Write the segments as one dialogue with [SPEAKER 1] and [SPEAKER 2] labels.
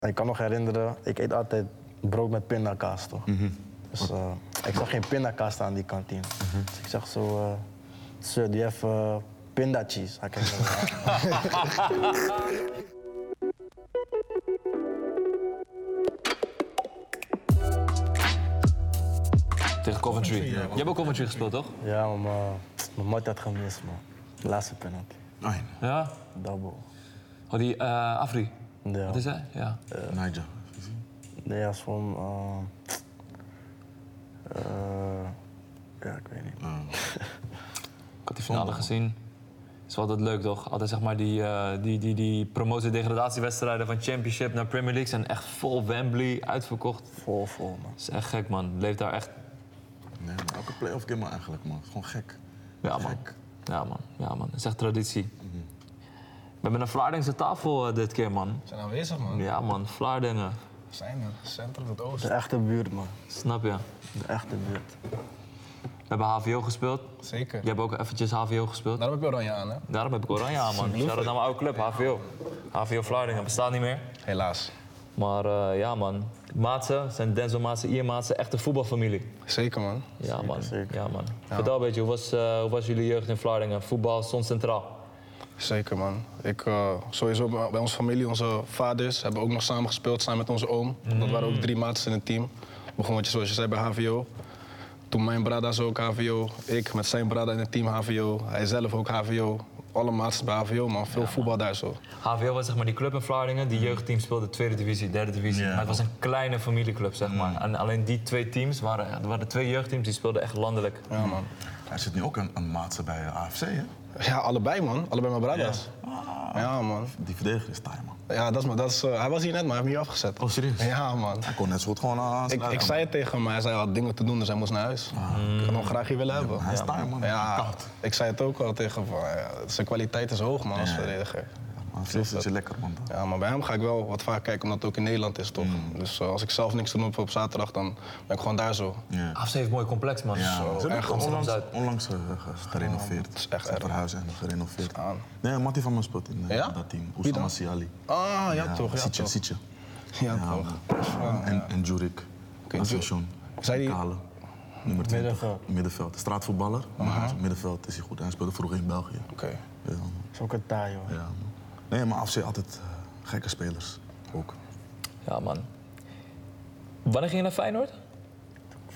[SPEAKER 1] Ik kan nog herinneren, ik eet altijd brood met pindakaas, toch? Dus eh, ik zag geen pindakaas staan aan die kantine. Dus ik zag zo, eh sir, die heeft eh, pindacheese. Hij kijkt me aan.
[SPEAKER 2] Tegen Coventry. Je hebt ook Coventry gespeeld, toch?
[SPEAKER 1] Ja, maar mijn- mijn mat had gemist, man. Laatste penalty.
[SPEAKER 3] Nee,
[SPEAKER 2] Ja.
[SPEAKER 1] Double.
[SPEAKER 2] Oh, die eh, Afri.
[SPEAKER 1] Ja.
[SPEAKER 2] Wat is hij? Ja.
[SPEAKER 3] eh, Nigel.
[SPEAKER 1] Nee, als van. eh, eh, ja, ik weet niet.
[SPEAKER 2] Ik had die finale gezien. Is wel altijd leuk, toch? Altijd zeg maar die, eh, die, die, die promotie-degradatiewedstrijden van Championship naar Premier League zijn echt vol Wembley, uitverkocht.
[SPEAKER 1] Vol, vol, man.
[SPEAKER 2] Dat is echt gek, man. Leeft daar echt...
[SPEAKER 3] Nee, maar elke playoff game eigenlijk, man. Het is Gewoon gek.
[SPEAKER 2] Ja, man.
[SPEAKER 3] Gek.
[SPEAKER 2] Ja, man. Ja, man. Dat is echt traditie. We hebben een Vlaardingse tafel eh, dit keer, man.
[SPEAKER 4] zijn aanwezig, man.
[SPEAKER 2] Ja, man. Vlaardingen.
[SPEAKER 4] Zijn er. Centrum tot
[SPEAKER 1] De
[SPEAKER 4] oosten.
[SPEAKER 1] echte buurt, man.
[SPEAKER 2] Snap je?
[SPEAKER 1] De echte buurt.
[SPEAKER 2] We hebben HVO gespeeld.
[SPEAKER 4] Zeker.
[SPEAKER 2] Je hebt ook eventjes HVO gespeeld.
[SPEAKER 4] Daarom heb je oranje aan, hè?
[SPEAKER 2] Daarom heb ik oranje aan, man. Shout out naar mijn oude club, HVO. HVO Vlaardingen. Bestaat niet meer.
[SPEAKER 4] Helaas.
[SPEAKER 2] Maar eh, ja, man. Maatsen, zijn Denzel Maatsen, Ian Maatsen, echt een voetbalfamilie.
[SPEAKER 4] Zeker, man.
[SPEAKER 2] Ja, man.
[SPEAKER 1] zeker.
[SPEAKER 2] Ja, man. Vertel een beetje, hoe was, eh, hoe was jullie jeugd in Vlaardingen? Voetbal stond centraal.
[SPEAKER 4] Zeker, man. Ik, eh, sowieso bij bij onze familie, onze vaders, hebben ook nog samen gespeeld, samen met onze oom. Dat waren ook drie maatjes in het team. Begon wat je, zoals je zei bij HVO. Toen mijn brada's ook HVO, ik met zijn brada in het team HVO, hij zelf ook HVO. Alle maatjes bij HVO, man. Veel voetbal daar zo.
[SPEAKER 2] HVO was zeg maar die club in Vlaardingen. Die jeugdteam speelde tweede divisie, derde divisie.
[SPEAKER 3] Ja.
[SPEAKER 2] Maar het was een kleine familieclub, zeg maar. En alleen die twee teams waren, er waren twee jeugdteams die speelden echt landelijk.
[SPEAKER 4] Ja, man.
[SPEAKER 3] Hij zit nu ook een, een maatse bij eh, AFC, hè? Ah,
[SPEAKER 4] Ja, allebei, man. Allebei mijn brada's. Ja, man.
[SPEAKER 3] Die verdediger is daar, man.
[SPEAKER 4] Ja, dat is, maar dat is, eh, hij was hier net, maar hij heeft hem hier afgezet.
[SPEAKER 3] Oh, serieus?
[SPEAKER 4] Ja, man.
[SPEAKER 3] Hij kon net zo goed gewoon aan-
[SPEAKER 4] Ik,
[SPEAKER 3] aansluiten,
[SPEAKER 4] ik zei het tegen hem, maar hij zei hij had dingen te doen, dus hij moest naar huis. Ik had hem graag hier willen hebben.
[SPEAKER 3] man. Hij is daar, man.
[SPEAKER 4] Ja,
[SPEAKER 3] Koud.
[SPEAKER 4] ik zei het ook al tegen hem. van, ja, zijn kwaliteit is hoog, man, als
[SPEAKER 3] Ja.
[SPEAKER 4] verdediger.
[SPEAKER 3] Maar Vlees zit je lekker, man.
[SPEAKER 4] Ja, maar bij hem ga ik wel wat vaak kijken, omdat het ook in Nederland is, toch? Dus eh, als ik zelf niks te doen heb op zaterdag, dan ben ik gewoon daar zo.
[SPEAKER 3] Ja.
[SPEAKER 2] AFC heeft een mooi complex, man.
[SPEAKER 3] Ja, ze
[SPEAKER 4] erg
[SPEAKER 3] hebben onlangs,
[SPEAKER 2] Amsterdam-Zuid.
[SPEAKER 3] onlangs eh, ge- gerenoveerd.
[SPEAKER 4] Ah, dat is echt
[SPEAKER 3] Ze zijn
[SPEAKER 4] erg.
[SPEAKER 3] verhuisd en gerenoveerd.
[SPEAKER 4] aan.
[SPEAKER 3] Nee, Matty van me speelt in eh,
[SPEAKER 4] Ja?
[SPEAKER 3] dat team.
[SPEAKER 4] Wie
[SPEAKER 3] Oussama
[SPEAKER 4] dan?
[SPEAKER 3] Siali.
[SPEAKER 4] Ah, ja, toch, ja,
[SPEAKER 3] Sietje,
[SPEAKER 4] toch.
[SPEAKER 3] Sietje.
[SPEAKER 4] Ja, toch.
[SPEAKER 3] man. En, en Jurik. En Station.
[SPEAKER 4] Zei die-
[SPEAKER 3] Kale. Nummer 20.
[SPEAKER 1] Middenveld.
[SPEAKER 3] Middenveld. Straatvoetballer. Maar hij is op middenveld is hij goed. Hij speelde vroeger in België.
[SPEAKER 4] Oké.
[SPEAKER 3] Ja, man.
[SPEAKER 1] is ook een taai, hoor.
[SPEAKER 3] Ja, man. Nee, maar AFC altijd eh, gekke spelers. Ook.
[SPEAKER 2] Ja, man. Wanneer ging je naar Feyenoord?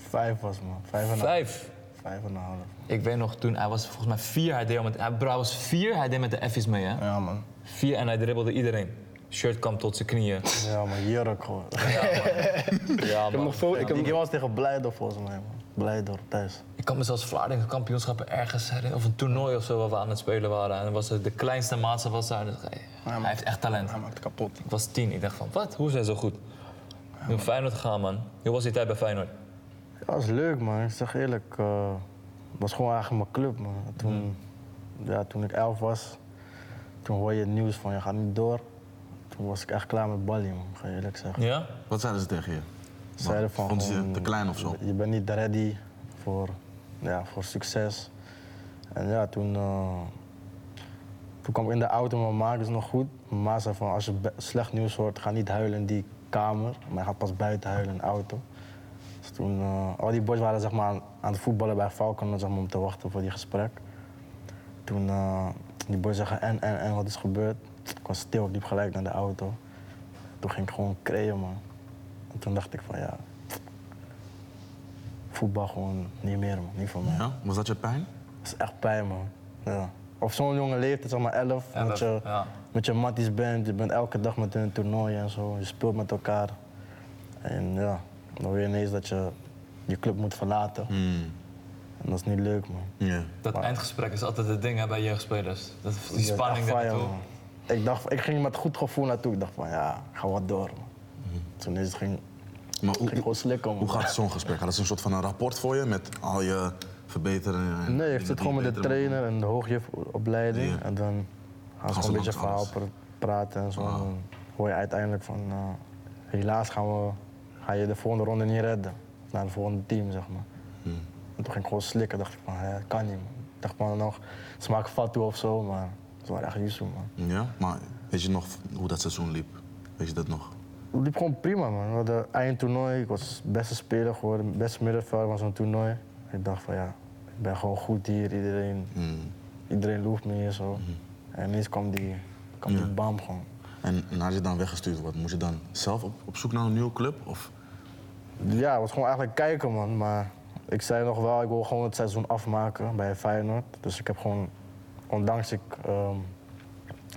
[SPEAKER 1] Vijf was, man. Vijf en een half.
[SPEAKER 2] Vijf.
[SPEAKER 1] Vijf en een half.
[SPEAKER 2] Ik weet nog, toen hij was volgens mij vier, hij deed al met, hij, bro, hij was vier, hij deed met de F's mee, hè?
[SPEAKER 4] Ja, man.
[SPEAKER 2] Vier en hij dribbelde iedereen. Shirt kwam tot zijn knieën.
[SPEAKER 1] Ja, maar jurk, hoor.
[SPEAKER 2] Ja, man.
[SPEAKER 1] Ik die game was tegen Blijdorp, volgens mij, man. Blijdorp, thuis.
[SPEAKER 2] Ik kan me zelfs Vlaardingen kampioenschappen ergens herinneren, of een toernooi of zo, waar we aan het spelen waren. En dan was het de kleinste maatse was daar. En dacht ik, hey,
[SPEAKER 4] man.
[SPEAKER 2] hij heeft echt talent.
[SPEAKER 4] Hij maakt kapot.
[SPEAKER 2] Ik was tien, ik dacht van, wat? Hoe is hij zo goed? Nu naar Feyenoord gegaan, man. Hoe was die tijd bij Feyenoord?
[SPEAKER 1] Ja, dat was leuk, man. Ik zeg eerlijk, eh, het was gewoon eigenlijk mijn club, man. En Toen, ja, toen ik elf was, toen hoor je het nieuws van je gaat niet door. Toen was ik echt klaar met Bali, man, ga je eerlijk zeggen.
[SPEAKER 2] Ja?
[SPEAKER 3] Wat zeiden ze tegen je?
[SPEAKER 1] Ze Zeiden van,
[SPEAKER 3] Vonden ze je
[SPEAKER 1] gewoon,
[SPEAKER 3] te klein of zo?
[SPEAKER 1] Je bent niet ready voor, ja, voor succes. En ja, toen, eh, toen kwam ik in de auto, mijn ma is nog goed. Mijn ma zei van, als je be- slecht nieuws hoort, ga niet huilen in die kamer. Maar ga pas buiten huilen in de auto. Dus toen, eh, al die boys waren zeg maar, aan, aan het voetballen bij Falcon zeg maar, om te wachten voor die gesprek. Toen eh, die boys zeggen en, en, en, wat is gebeurd? Ik was stil, ik liep gelijk naar de auto. Toen ging ik gewoon creëren, man. En toen dacht ik van ja, voetbal gewoon niet meer, man. Niet voor mij.
[SPEAKER 3] Ja? Was dat je pijn?
[SPEAKER 1] Dat is echt pijn, man. Ja. Op zo'n jonge leeftijd, zeg maar 11,
[SPEAKER 2] Elf,
[SPEAKER 1] met, je,
[SPEAKER 2] ja.
[SPEAKER 1] met je matties bent, je bent elke dag met hun toernooien en zo, je speelt met elkaar. En ja, dan weet je ineens dat je je club moet verlaten. En dat is niet leuk, man.
[SPEAKER 3] Ja.
[SPEAKER 2] Dat eindgesprek is altijd het ding hè, bij jeugdspelers. Dat, die
[SPEAKER 1] Ik dacht
[SPEAKER 2] spanning
[SPEAKER 1] van, ja,
[SPEAKER 2] daartoe.
[SPEAKER 1] man. Ik, dacht, ik ging met goed gevoel naartoe. Ik dacht van ja, ik ga wat door. Man. Toen is het ging,
[SPEAKER 3] Maar hoe,
[SPEAKER 1] ging gewoon slikken. man.
[SPEAKER 3] Hoe gaat zo'n gesprek? Dat is een soort van een rapport voor je met al je verbeteringen. en
[SPEAKER 1] Nee, ik zit
[SPEAKER 3] dingen die
[SPEAKER 1] gewoon
[SPEAKER 3] je
[SPEAKER 1] met de
[SPEAKER 3] beter moet
[SPEAKER 1] trainer en de hoogjeopleiding.
[SPEAKER 3] Ja.
[SPEAKER 1] En dan gaan ze
[SPEAKER 3] Gaan ze
[SPEAKER 1] gewoon een beetje
[SPEAKER 3] langs alles.
[SPEAKER 1] verhaal pr- praten en zo.
[SPEAKER 3] Ah.
[SPEAKER 1] En Dan hoor je uiteindelijk van, eh, helaas gaan we, ga je de volgende ronde niet redden. Naar het volgende team, zeg maar.
[SPEAKER 3] Hm.
[SPEAKER 1] En toen ging ik gewoon slikken, dacht ik van, hè, kan niet. Man. Ik dacht van, nog, ze maken fatu of zo, maar ze waren echt Yusuf, man.
[SPEAKER 3] doen. Ja, maar weet je nog hoe dat seizoen liep? Weet je dat nog?
[SPEAKER 1] het liep gewoon prima, man. We hadden eindtoernooi. Ik was beste speler geworden, beste middenvelder van zo'n toernooi. Ik dacht van ja, ik ben gewoon goed hier. Iedereen, iedereen loeft me hier zo. En ineens kwam die, kwam die bam gewoon.
[SPEAKER 3] En, en als je dan weggestuurd wordt, moet je dan zelf op, op zoek naar een nieuwe club? Of
[SPEAKER 1] Ja, het was gewoon eigenlijk kijken, man. Maar ik zei nog wel, ik wil gewoon het seizoen afmaken bij Feyenoord. Dus ik heb gewoon, ondanks ik ehm,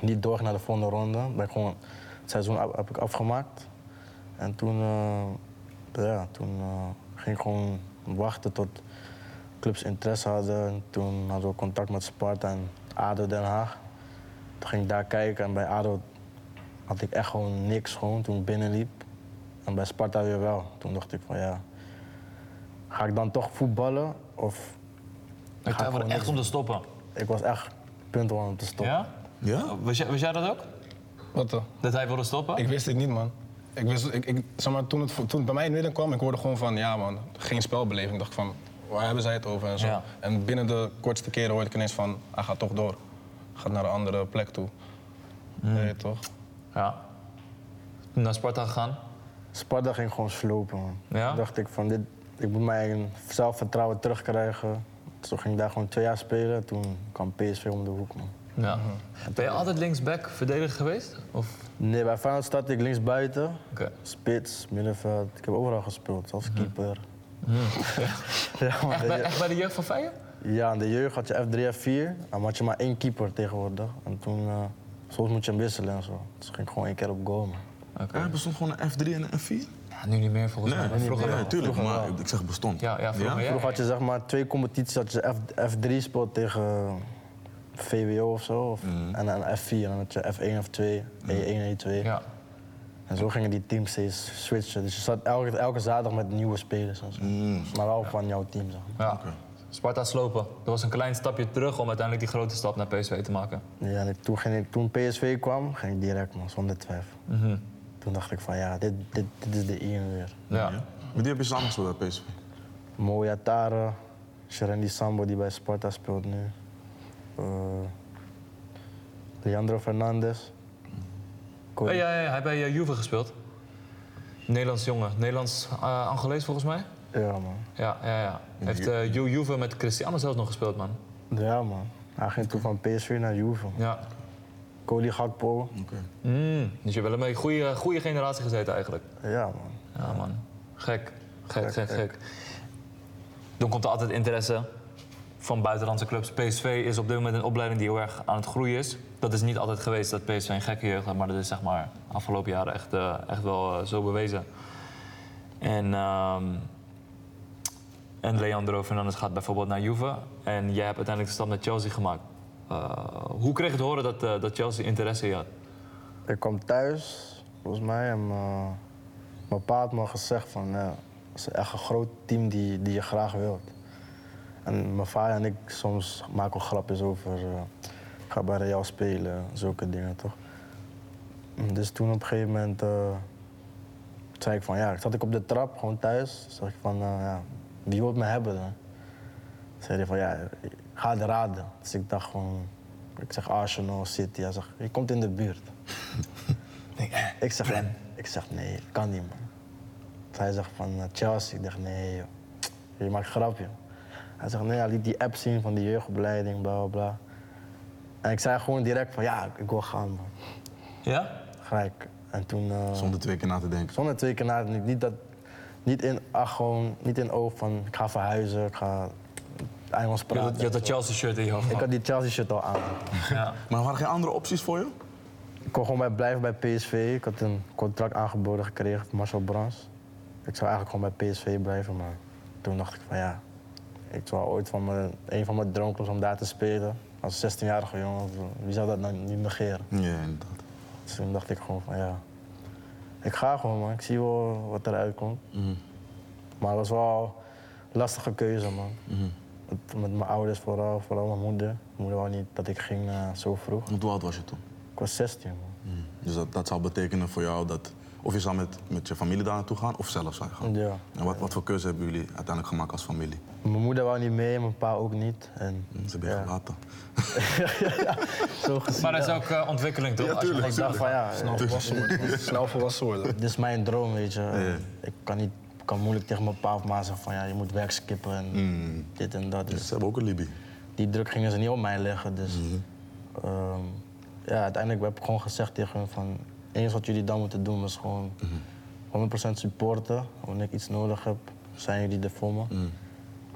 [SPEAKER 1] niet doorging naar de volgende ronde, ben ik gewoon het seizoen af- heb ik afgemaakt. En toen, eh, ja, toen eh, ging ik gewoon wachten tot clubs interesse hadden. En toen hadden we contact met Sparta en ADO Den Haag. Toen ging ik daar kijken en bij ADO had ik echt gewoon niks gewoon toen ik binnenliep. En bij Sparta weer wel. Toen dacht ik van ja, ga ik dan toch voetballen? Of
[SPEAKER 2] Ik twijfelde echt om te stoppen.
[SPEAKER 1] ik was echt punt om te stoppen.
[SPEAKER 2] Ja?
[SPEAKER 3] Ja?
[SPEAKER 2] Was jij, was jij dat ook?
[SPEAKER 4] Wat dan?
[SPEAKER 2] Dat hij wilde stoppen?
[SPEAKER 4] Ik wist dit niet, man. Ik wist, ik, ik, zeg maar, toen, het, toen het bij mij in het midden kwam, ik hoorde gewoon van, ja man, geen spelbeleving. Ik dacht van, waar hebben zij het over en zo.
[SPEAKER 2] Ja.
[SPEAKER 4] En binnen de kortste keren hoorde ik ineens van, hij gaat toch door. Gaat naar een andere plek toe.
[SPEAKER 2] Hmm.
[SPEAKER 4] Nee, toch?
[SPEAKER 2] Ja. Naar Sparta gegaan.
[SPEAKER 1] Sparta ging gewoon slopen. Man.
[SPEAKER 2] Ja?
[SPEAKER 1] Toen dacht ik van dit, ik moet mijn zelfvertrouwen terugkrijgen. Dus toen ging ik daar gewoon twee jaar spelen. Toen kwam PSV om de hoek. Man.
[SPEAKER 2] Ja. Ben je altijd linksback verdediger geweest? Of?
[SPEAKER 1] Nee, bij Feyenoord startte ik linksbuiten.
[SPEAKER 2] Oké.
[SPEAKER 1] Spits, middenveld. Ik heb overal gespeeld, zelfs keeper. ja, man,
[SPEAKER 2] Echt, bij,
[SPEAKER 1] de,
[SPEAKER 2] echt bij de jeugd van Feyenoord?
[SPEAKER 1] ja, in de jeugd had je F3, F4. En dan had je maar één keeper tegenwoordig. En toen, eh, soms moet je hem wisselen en zo. Dus ging ik gewoon één keer op goal, man.
[SPEAKER 3] Ah, Er bestond gewoon een F3 en een F4? Nee,
[SPEAKER 2] Ja, nu niet meer volgens mij. maar vroeger wel.
[SPEAKER 3] ja, tuurlijk, maar ik zeg bestond.
[SPEAKER 2] Ja, ja, vroeger, ja.
[SPEAKER 1] Vroeger had je zeg maar twee competities, had je F, F3 speelt tegen VWO of zo. Of, En dan F4, en dan had je F1 of E 2, E1, E2.
[SPEAKER 2] Ja.
[SPEAKER 1] En zo gingen die teams steeds switchen. Dus je zat elke, elke zaterdag met nieuwe spelers en zo. Maar wel van jouw team, zeg maar.
[SPEAKER 2] ja. Sparta slopen. Dat was een klein stapje terug om uiteindelijk die grote stap naar PSV te maken.
[SPEAKER 1] Ja, en ik- toen, ging ik, toen PSV kwam, ging ik direct, man, zonder twijfel. Toen dacht ik van ja, dit, dit, dit is de Ian weer.
[SPEAKER 2] Ja.
[SPEAKER 3] Ja? Met die heb je samen gespeeld bij PSV.
[SPEAKER 1] Moyatara, Sherendi Sambo die bij Sparta speelt nu. Eh, Leandro Fernandes. Cody-
[SPEAKER 2] Hey, ja, ja, hij heeft bij eh, Juve gespeeld. Nederlands jongen. Nederlands eh Angolees volgens mij.
[SPEAKER 1] Ja man.
[SPEAKER 2] Ja, ja, ja. Heeft eh, Ju- Juve met Cristiano zelfs nog gespeeld, man.
[SPEAKER 1] Ja man. Hij ging toen van PSV naar Juve.
[SPEAKER 2] Ja.
[SPEAKER 1] Cody Gakpo.
[SPEAKER 3] Oké.
[SPEAKER 2] Mm, Dus je hebt wel een beetje goede, goede generatie gezeten eigenlijk.
[SPEAKER 1] Ja man.
[SPEAKER 2] Ja, man. Gek. Gek, gek, gek. Dan komt er altijd interesse van buitenlandse clubs. PSV is op dit moment een opleiding die heel erg aan het groeien is. Dat is niet altijd geweest dat PSV een gekke jeugd had, maar dat is zeg maar afgelopen jaren echt, eh, echt wel eh, zo bewezen. En, ehm, en Leandro Fernandes gaat bijvoorbeeld naar Juve. En jij hebt uiteindelijk de stap naar Chelsea gemaakt. Eh, hoe kreeg je te horen dat, eh, dat Chelsea interesse in je had?
[SPEAKER 1] Ik kwam thuis, volgens mij, en eh, mijn pa had me gezegd van, ja, het is echt een groot team die, die je graag wilt. En mijn vader en ik soms maken we grapjes over, eh, ga bij Real spelen, zulke dingen toch. Dus toen op een gegeven moment eh, zei ik van, ja, zat ik op de trap, gewoon thuis, zeg ik van, eh, ja, wie wil me hebben dan? Zei hij van, ja, ga het raden. Dus ik dacht gewoon, ik zeg Arsenal, City, hij zegt, je komt in de buurt. Ik zeg, ik zeg nee, dat kan niet, man. Hij zegt van eh, Chelsea. Ik dacht, nee, joh. je maakt een grapje. Hij zegt, nee, hij liet die app zien van die jeugdopleiding, bla bla bla. En ik zei gewoon direct van ja, ik wil gaan, man.
[SPEAKER 2] Ja?
[SPEAKER 1] Gelijk. En toen.
[SPEAKER 2] Oh.
[SPEAKER 1] eh,
[SPEAKER 3] Zonder twee keer na te denken.
[SPEAKER 1] zonder twee keer na, niet, niet dat, niet in acht, gewoon, niet in oog van ik ga verhuizen, ik ga Engels
[SPEAKER 2] Je had,
[SPEAKER 1] praten.
[SPEAKER 2] je had dat Chelsea shirt in je hoofd.
[SPEAKER 1] Ik
[SPEAKER 2] gehad.
[SPEAKER 1] had die Chelsea shirt al aan.
[SPEAKER 2] Ja.
[SPEAKER 3] Maar waren er geen andere opties voor je?
[SPEAKER 1] Ik kon gewoon bij, blijven bij PSV. Ik had een contract aangeboden gekregen van Marcel Brands. Ik zou eigenlijk gewoon bij PSV blijven, maar toen dacht ik van ja... Ik zou ooit van mijn, een van mijn droomclubs om daar te spelen. Als 16-jarige jongen, wie zou dat nou niet negeren?
[SPEAKER 3] Ja, inderdaad.
[SPEAKER 1] Dus toen dacht ik gewoon van ja... Ik ga gewoon man, ik zie wel wat eruit komt. Maar het was wel een lastige keuze man. Met, met mijn ouders vooral, vooral mijn moeder. Mijn moeder wou niet dat ik ging eh, zo vroeg.
[SPEAKER 3] Want hoe oud was je toen?
[SPEAKER 1] Ik was 16 man.
[SPEAKER 2] Hmm.
[SPEAKER 3] Dus dat, dat zou betekenen voor jou dat Of je zou met, met je familie daar naartoe gaan, of zelf zou je gaan.
[SPEAKER 1] Ja.
[SPEAKER 3] En wat, wat voor keuze hebben jullie uiteindelijk gemaakt als familie?
[SPEAKER 1] Mijn moeder wou niet mee, mijn pa ook niet. En
[SPEAKER 3] Ze hebben je
[SPEAKER 1] ja,
[SPEAKER 3] gelaten.
[SPEAKER 1] zo gezien.
[SPEAKER 2] Maar dat is ook eh, ontwikkeling, toch? Als je
[SPEAKER 1] Ik dacht van ja, eh,
[SPEAKER 4] Snel volwassen worden. man. Snel volwassen worden.
[SPEAKER 1] dit is mijn droom, weet je. Eh, Ik kan, niet, ik kan moeilijk tegen mijn pa of ma zeggen van ja, je moet werk skippen en dit en dat. Dus
[SPEAKER 3] Ze hebben ook een Libi.
[SPEAKER 1] die druk gingen ze niet op mij leggen. Dus ehm, ja, uiteindelijk heb ik gewoon gezegd tegen hun van... eens wat jullie dan moeten doen is gewoon 100% supporten. Wanneer ik iets nodig heb, zijn jullie er voor me.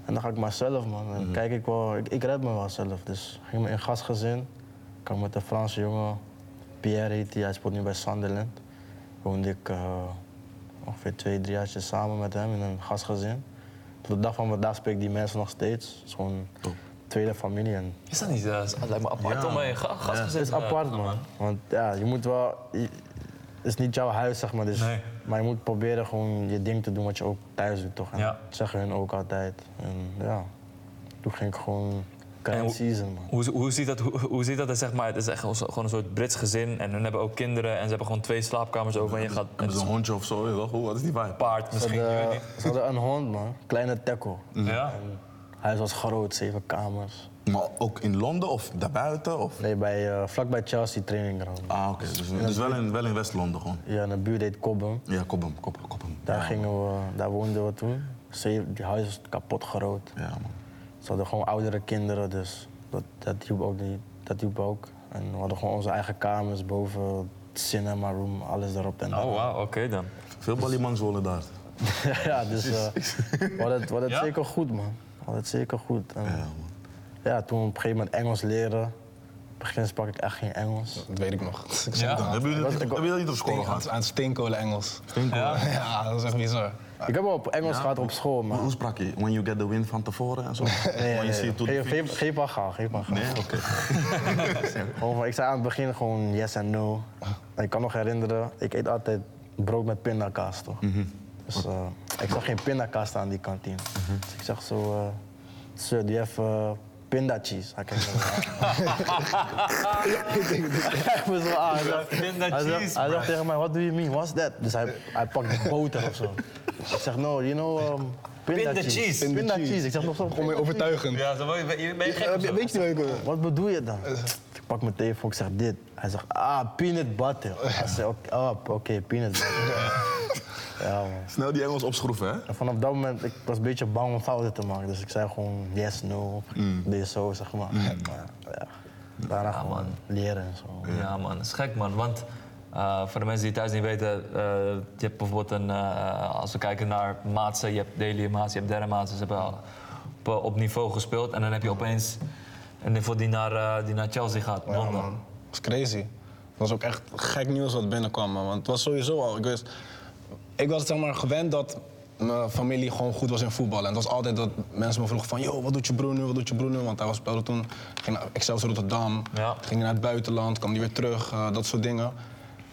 [SPEAKER 1] En dan ga ik maar zelf, man. En kijk ik wel... Ik, ik red me wel zelf. Dus ging me in gastgezin. Kan met een Franse jongen. Pierre heet hij. Hij speelt nu bij Sunderland. Woonde ik eh, ongeveer twee, drie jaar samen met hem in een gastgezin. Tot de dag van vandaag spreek ik die mensen nog steeds. Het is gewoon tweede familie. En
[SPEAKER 2] Is dat niet? eh, het lijkt me apart om mee gast
[SPEAKER 1] het is apart, man. Want ja, je moet wel. je- Het is niet jouw huis, zeg maar. Dus,
[SPEAKER 2] Nee.
[SPEAKER 1] Maar je moet proberen gewoon je ding te doen wat je ook thuis doet, toch? En
[SPEAKER 2] Ja.
[SPEAKER 1] dat zeggen hun ook altijd. En ja, toen ging ik gewoon.
[SPEAKER 2] En
[SPEAKER 1] Klein
[SPEAKER 2] hoe-
[SPEAKER 1] season, man.
[SPEAKER 2] Hoe, hoe ziet dat? Hoe, hoe ziet dat? Het, zeg maar, het is echt gewoon een soort Brits gezin. En hun hebben ook kinderen. En ze hebben gewoon twee slaapkamers over. En je gaat
[SPEAKER 3] Hebben
[SPEAKER 2] met
[SPEAKER 3] ze een
[SPEAKER 2] een
[SPEAKER 3] hondje of zo? je toch? Hoe- Wat is die vibe?
[SPEAKER 2] paard
[SPEAKER 1] Ze
[SPEAKER 2] misschien. je weet
[SPEAKER 1] hadden,
[SPEAKER 2] niet.
[SPEAKER 1] ze hadden een hond, man. Kleine tackle.
[SPEAKER 2] Ja.
[SPEAKER 1] Huis was groot, zeven kamers.
[SPEAKER 3] Maar ook in Londen of daarbuiten? Of?
[SPEAKER 1] Nee, bij, eh vlakbij Chelsea training ground.
[SPEAKER 3] Ah, oké. Dus, dus wel in, wel in West-Londen gewoon.
[SPEAKER 1] Ja, en de buurt heet Cobham.
[SPEAKER 3] Ja, kop hem, kop hem, kop hem.
[SPEAKER 1] Daar,
[SPEAKER 3] ja,
[SPEAKER 1] gingen we, daar woonden we toen. Zeven- Die huis was kapot groot.
[SPEAKER 3] Ja, man.
[SPEAKER 1] Ze hadden gewoon oudere kinderen, dus dat, dat hielp ook niet. Dat hielp ook. En we hadden gewoon onze eigen kamers boven, cinema room, alles erop en
[SPEAKER 2] Oh,
[SPEAKER 1] erop.
[SPEAKER 2] wauw. Oké dan.
[SPEAKER 3] Veel Balimans wonen
[SPEAKER 1] Ah,
[SPEAKER 3] daar.
[SPEAKER 1] ja, dus eh, we hadden het, we hadden het
[SPEAKER 2] Ja?
[SPEAKER 1] zeker goed, man. We hadden het zeker goed. En,
[SPEAKER 3] Ja,
[SPEAKER 1] ja.
[SPEAKER 3] man.
[SPEAKER 1] toen we op een gegeven moment Engels leren. In het begin sprak ik echt geen Engels.
[SPEAKER 4] Dat weet ik nog. Ik
[SPEAKER 2] Ja.
[SPEAKER 4] zat aan,
[SPEAKER 3] Hebben jullie dat, hebben jullie dat niet op school
[SPEAKER 4] steen- aan,
[SPEAKER 3] gehad?
[SPEAKER 4] aan steenkolen Engels. Ja. dat is echt bizar.
[SPEAKER 1] Ik heb wel op Engels gehad op school,
[SPEAKER 3] Hoe-
[SPEAKER 1] maar...
[SPEAKER 3] Hoe sprak je? When you get the win van tevoren en zo?
[SPEAKER 1] Nee,
[SPEAKER 3] When you
[SPEAKER 1] nee,
[SPEAKER 3] see
[SPEAKER 1] nee.
[SPEAKER 3] it to the
[SPEAKER 1] Geef-
[SPEAKER 3] fin-
[SPEAKER 1] geef- Geef maar gaan, geef maar gaan.
[SPEAKER 3] Nee, oké.
[SPEAKER 1] Gewoon van- ik zei aan het begin gewoon yes en no. En ik kan nog herinneren, ik eet altijd brood met pindakaas, toch?
[SPEAKER 3] Mhm.
[SPEAKER 1] Dus eh, ik zag geen pindakaas staan aan die kantine.
[SPEAKER 3] Mhm.
[SPEAKER 1] Dus ik zag zo, eh sir, do you have eh, pindacheese? Hij kijkt me zo aan. Hij kijkt me zo aan. Hij zegt- hij
[SPEAKER 2] Pindacheese,
[SPEAKER 1] zegt- hij zegt tegen mij, what do you mean, what's that? Dus hij, hij pakt boter of zo. Ik zeg, no, you know, um,
[SPEAKER 2] Pindacheese.
[SPEAKER 1] pindacheese. Pindacheese. Ik zeg nog zo,
[SPEAKER 4] Gewoon weer overtuigend.
[SPEAKER 2] Ja, zo, ben je, ben je gek?
[SPEAKER 4] Eh, weet je niet waar ik-
[SPEAKER 1] wat bedoel je dan? Ik pak mijn telefoon, ik zeg dit. Hij zegt, ah, peanut butter. Hij zei, oké, oh, oké, peanut butter. ja, man.
[SPEAKER 3] Snel die Engels opschroeven, hè?
[SPEAKER 1] En vanaf dat moment, ik was een beetje bang om fouten te maken. Dus ik zei gewoon yes, no,
[SPEAKER 4] Mm.
[SPEAKER 1] dit zo, zeg maar. Maar ja, daarna gewoon leren en zo.
[SPEAKER 2] Ja, man, dat is gek, man. Want eh, voor de mensen die thuis niet weten, eh, je hebt bijvoorbeeld een. eh, als we kijken naar maatsen, je hebt Delia Maats, je hebt derde maatsen. Ze hebben al op, eh, op niveau gespeeld. En dan heb je opeens een niveau die naar, eh, die naar Chelsea gaat,
[SPEAKER 4] Ja,
[SPEAKER 2] Londen.
[SPEAKER 4] man. Dat is crazy. Dat was ook echt gek nieuws wat binnenkwam, man. Want het was sowieso al. Ik, wist, ik was zeg maar gewend dat mijn familie gewoon goed was in voetbal. En het was altijd dat mensen me vroegen van... Yo, wat doet je broer nu? Wat doet je broer nu? Want hij was speelde toen... Ging naar Excelsior Rotterdam.
[SPEAKER 2] Ja.
[SPEAKER 4] Ging naar het buitenland. Kwam die weer terug. eh, dat soort dingen.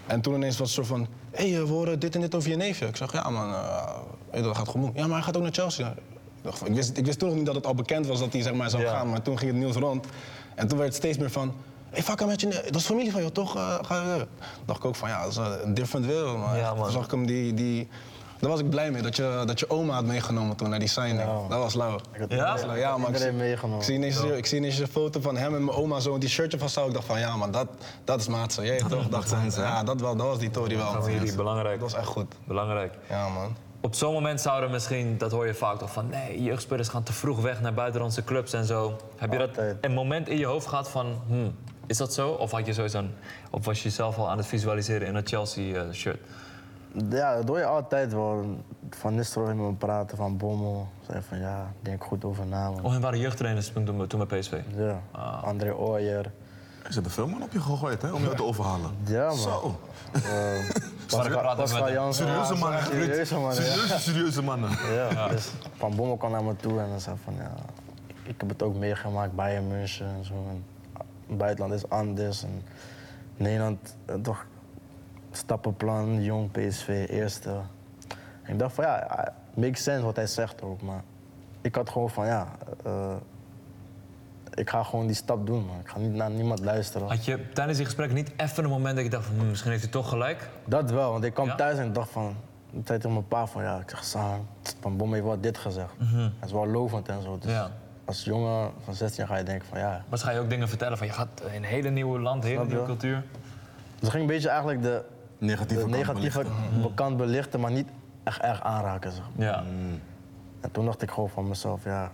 [SPEAKER 4] En toen ineens was het zo van... Hé, hey, eh, we horen dit en dit over je neefje. Ik zeg, ja man, eh, hey, dat gaat goed doen. Ja, maar hij gaat ook naar Chelsea. Ik dacht van- Ik wist, ik wist toen nog niet dat het al bekend was dat hij zeg maar, zou
[SPEAKER 2] Ja.
[SPEAKER 4] gaan. Maar toen ging het nieuws rond. En toen werd het steeds meer van... Hey, fuck met je, ne- dat is familie van jou, toch? Eh, ga je dacht ik ook van, ja, dat is eh, een different wereld. Maar
[SPEAKER 2] Ja, man.
[SPEAKER 4] toen zag ik hem die... die daar was ik blij mee, dat je, dat je oma had meegenomen toen naar die signing. Dat was lauw.
[SPEAKER 2] Ja?
[SPEAKER 4] Dat was lauw. Ja, maar ik
[SPEAKER 1] Iedereen
[SPEAKER 4] zie,
[SPEAKER 1] meegenomen.
[SPEAKER 4] ik zie ineens, ik zie ineens een foto van hem en mijn oma zo, en die shirtje van zou. Ik dacht van, ja man, dat, dat is maatse. Jij toch? Dacht,
[SPEAKER 3] zijn ze, hè?
[SPEAKER 4] ja, dat, wel, dat was die Tory wel. man.
[SPEAKER 2] Familie, belangrijk.
[SPEAKER 4] Dat was echt goed.
[SPEAKER 2] Belangrijk.
[SPEAKER 4] Ja man.
[SPEAKER 2] Op zo'n moment zouden misschien, dat hoor je vaak toch, van nee, jeugdspelers gaan te vroeg weg naar buitenlandse clubs en zo. Heb je dat
[SPEAKER 1] Altijd.
[SPEAKER 2] een moment in je hoofd gehad van, hmm, is dat zo? Of, had je sowieso een, of was je jezelf al aan het visualiseren in een eh, Chelsea-shirt?
[SPEAKER 1] Ja, dat hoor je altijd wel. Van Nistelrooy met me praten, van Bommel. Zei van, ja, denk goed over na, man.
[SPEAKER 2] Oh, en waren jeugdtrainers toen, toen, toen bij PSV?
[SPEAKER 1] Ja, André Ooyer.
[SPEAKER 3] Ze hebben veel man op je gegooid, hè? Om jou te overhalen.
[SPEAKER 1] Ja, man.
[SPEAKER 3] Zo.
[SPEAKER 1] eh,
[SPEAKER 2] Maar ik
[SPEAKER 1] Pascal-
[SPEAKER 2] praat
[SPEAKER 1] Pascal
[SPEAKER 2] met-
[SPEAKER 1] Jansen.
[SPEAKER 3] Serieuze mannen. hè?
[SPEAKER 1] Serieuze mannen, ja.
[SPEAKER 3] Serieuze, serieuze mannen.
[SPEAKER 1] Ja, dus Van Bommel kwam naar me toe en dan zei van ja, ik heb het ook meegemaakt bij een München en zo. En het buitenland is anders en Nederland eh, toch stappenplan, jong PSV, eerste. En ik dacht van ja, eh, makes sense wat hij zegt ook, maar ik had gewoon van ja, eh, ik ga gewoon die stap doen, man. Ik ga niet naar niemand luisteren.
[SPEAKER 2] Had je tijdens die gesprekken niet even een moment dat je dacht van "Hmm, misschien heeft hij toch gelijk?
[SPEAKER 1] Dat wel, want ik kwam
[SPEAKER 2] Ja?
[SPEAKER 1] thuis en ik dacht van... Ik zei tegen mijn pa van, ja, ik zeg, Sam, van Bom heeft wel dit gezegd. Het is wel lovend en zo. Dus
[SPEAKER 2] Mhm. Ja.
[SPEAKER 1] als jongen van 16 ga je denken van, ja...
[SPEAKER 2] Maar ze gaan je ook dingen vertellen van je gaat in een hele nieuwe land, een hele
[SPEAKER 1] Snap je?
[SPEAKER 2] nieuwe cultuur.
[SPEAKER 1] Dus ik ging een beetje eigenlijk de,
[SPEAKER 3] Negatieve
[SPEAKER 1] de
[SPEAKER 3] kant
[SPEAKER 1] negatieve kant belichten, maar niet echt erg aanraken, zeg maar.
[SPEAKER 2] Ja.
[SPEAKER 1] En toen dacht ik gewoon van mezelf, ja...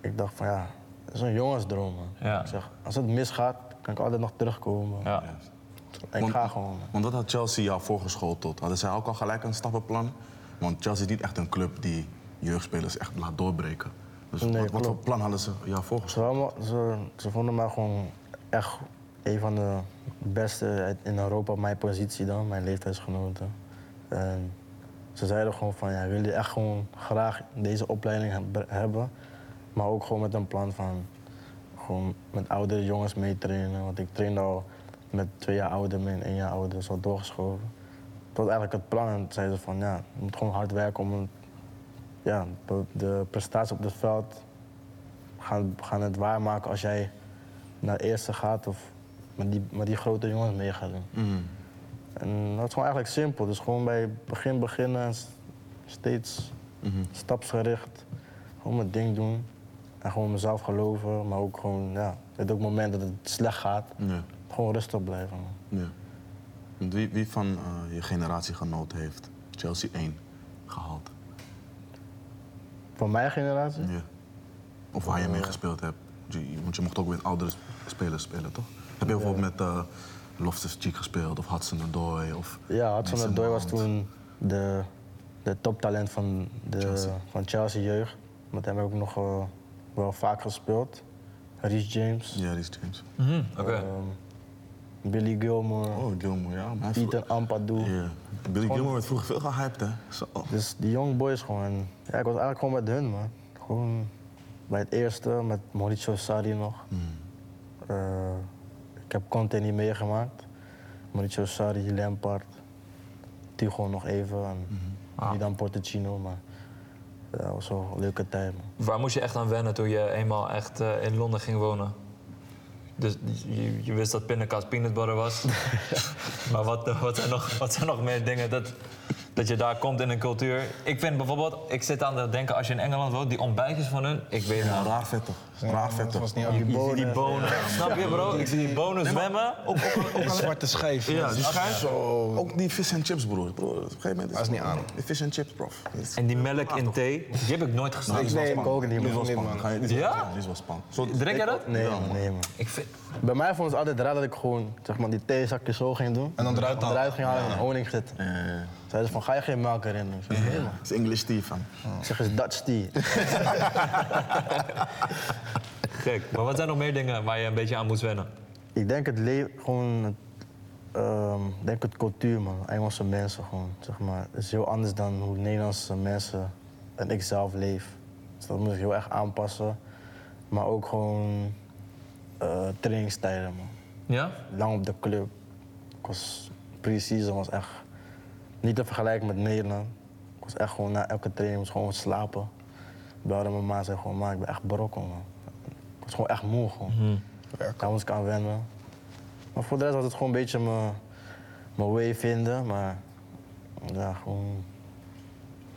[SPEAKER 1] Ik dacht van, ja, het is een jongensdroom, man.
[SPEAKER 2] Ja.
[SPEAKER 1] Ik zeg, als het misgaat, kan ik altijd nog terugkomen.
[SPEAKER 2] ja.
[SPEAKER 1] En ik
[SPEAKER 3] Want-
[SPEAKER 1] ga gewoon, man.
[SPEAKER 3] Want dat had Chelsea jou voorgeschoteld. Hadden zij ook al gelijk een stappenplan? Want Chelsea is niet echt een club die jeugdspelers echt laat doorbreken. Dus
[SPEAKER 1] Nee,
[SPEAKER 3] wat, wat voor
[SPEAKER 1] klopt.
[SPEAKER 3] plan hadden ze jou
[SPEAKER 1] Ze,
[SPEAKER 3] voorgeschoteld?
[SPEAKER 1] waren wel- ze, ze vonden mij gewoon echt een van de beste uit- in Europa op mijn positie dan, mijn leeftijdsgenoten. En ze zeiden gewoon van, ja, wil je echt gewoon graag deze opleiding heb- hebben? Maar ook gewoon met een plan van, gewoon met oudere jongens mee trainen. Want ik trainde al met twee jaar ouder mee en één jaar ouder, zo doorgeschoven. Dat was eigenlijk het plan. En toen zeiden ze van, ja, je moet gewoon hard werken om een- ja, de, de prestatie op het veld gaan, gaan het waarmaken als jij naar eerste gaat of met die, met die grote jongens mee gaat doen. En dat is gewoon eigenlijk simpel. Dus gewoon bij begin beginnen, en s- steeds stapsgericht. Gewoon mijn ding doen. En gewoon mezelf geloven, maar ook gewoon, ja, het ook momenten dat het slecht gaat.
[SPEAKER 3] Ja,
[SPEAKER 1] Gewoon rustig blijven. man.
[SPEAKER 3] ja. Want Wie, wie van eh, je generatiegenoot heeft Chelsea 1 gehaald?
[SPEAKER 1] Van mijn generatie?
[SPEAKER 3] Ja. Of waar je mee gespeeld hebt. Je- je- Want je mocht ook met oudere sp- spelers spelen, toch? Heb je bijvoorbeeld met eh Loftus Cheek gespeeld of Hudson Odoi? Of
[SPEAKER 1] Ja, Hudson
[SPEAKER 3] Mason
[SPEAKER 1] Odoi was
[SPEAKER 3] Mount?
[SPEAKER 1] toen de, de toptalent van, de,
[SPEAKER 3] Chelsea.
[SPEAKER 1] van Chelsea jeugd. Met hem heb ik nog eh, wel vaak gespeeld. Rhys James, ehm,
[SPEAKER 3] Ja, die is James.
[SPEAKER 2] Mhm, Oké.
[SPEAKER 1] Billy Gilmore,
[SPEAKER 3] Oh, Gilmore, ja. maar hij vlo-
[SPEAKER 1] Ethan Ampadu.
[SPEAKER 3] Ja. Billy Gilmore werd vroeger veel gehyped, hè? Zo.
[SPEAKER 1] Dus die young boys gewoon. Ja, ik was eigenlijk gewoon met hun, man. Gewoon bij het eerste, met Mauricio Sarri nog.
[SPEAKER 4] Hmm.
[SPEAKER 1] Eh, ik heb Conte niet meegemaakt. Mauricio Sarri, Lampard, Tigo nog even. En
[SPEAKER 4] Hmm.
[SPEAKER 1] Niet dan Porticino, maar ja, dat was wel een leuke tijd, man.
[SPEAKER 2] Waar moest je echt aan wennen toen je eenmaal echt eh, in Londen ging wonen? Dus je, je wist dat pindakaas peanut butter was. maar wat, eh, wat, zijn nog, wat zijn nog meer dingen dat, dat je daar komt in een cultuur? Ik vind bijvoorbeeld, ik zit aan het denken als je in Engeland woont, die ontbijtjes van hun, ik weet het
[SPEAKER 3] Ja,
[SPEAKER 2] niet.
[SPEAKER 3] raar vet toch? Raar vet
[SPEAKER 4] Dat
[SPEAKER 3] toch?
[SPEAKER 4] was niet aan
[SPEAKER 2] Ik zie die bonen. Snap je bro? Ik zie die bonen zwemmen. Op,
[SPEAKER 4] Een zwarte schijf.
[SPEAKER 3] Ja, die
[SPEAKER 4] schijf.
[SPEAKER 3] schijf. Ook die vis en chips, broer. broer op een gegeven moment
[SPEAKER 4] Dat is niet aan.
[SPEAKER 3] Die vis en chips, prof. Dat is-
[SPEAKER 2] En die melk in thee, die heb ik nooit gesnapt.
[SPEAKER 1] Nee, ik ook
[SPEAKER 3] Die
[SPEAKER 1] niet,
[SPEAKER 3] is wel
[SPEAKER 1] man.
[SPEAKER 3] spannend. Ga je- die is wel
[SPEAKER 2] Ja?
[SPEAKER 3] spannend, Die is wel spannend. Zo-
[SPEAKER 2] Drink jij dat?
[SPEAKER 1] Nee, man, nee, man.
[SPEAKER 2] Ik vind,
[SPEAKER 1] Bij mij vond het altijd raar dat ik gewoon zeg maar, die theezakjes zo ging doen.
[SPEAKER 4] En dan eruit halen.
[SPEAKER 1] ging halen en honing zitten.
[SPEAKER 3] Eh,
[SPEAKER 1] Zeiden ze van, ga je geen melk erin doen? Ik zeg, nee, man.
[SPEAKER 3] Het is English tea, fam.
[SPEAKER 1] Ik zeg, is Dutch tea.
[SPEAKER 2] gek. Maar wat zijn nog meer dingen waar je een beetje aan moest wennen?
[SPEAKER 1] Ik denk het leven, gewoon, het, ehm, ik denk het cultuur, man. Engelse mensen gewoon, zeg maar. Het is heel anders dan hoe Nederlandse mensen en ik zelf leef. Dus dat moet ik heel erg aanpassen. Maar ook gewoon eh trainingstijden, man.
[SPEAKER 2] Ja?
[SPEAKER 1] Lang op de club. Ik was pre-season, was echt niet te vergelijken met Nederland. Ik was echt gewoon na elke training, moest gewoon slapen. Belde mijn ma en zei gewoon, ma, ik ben echt brokken, man. Ik was gewoon echt moe, gewoon. Daar moest ik aan wennen. Maar voor de rest was het gewoon een beetje mijn, mijn way vinden. Maar ja, gewoon,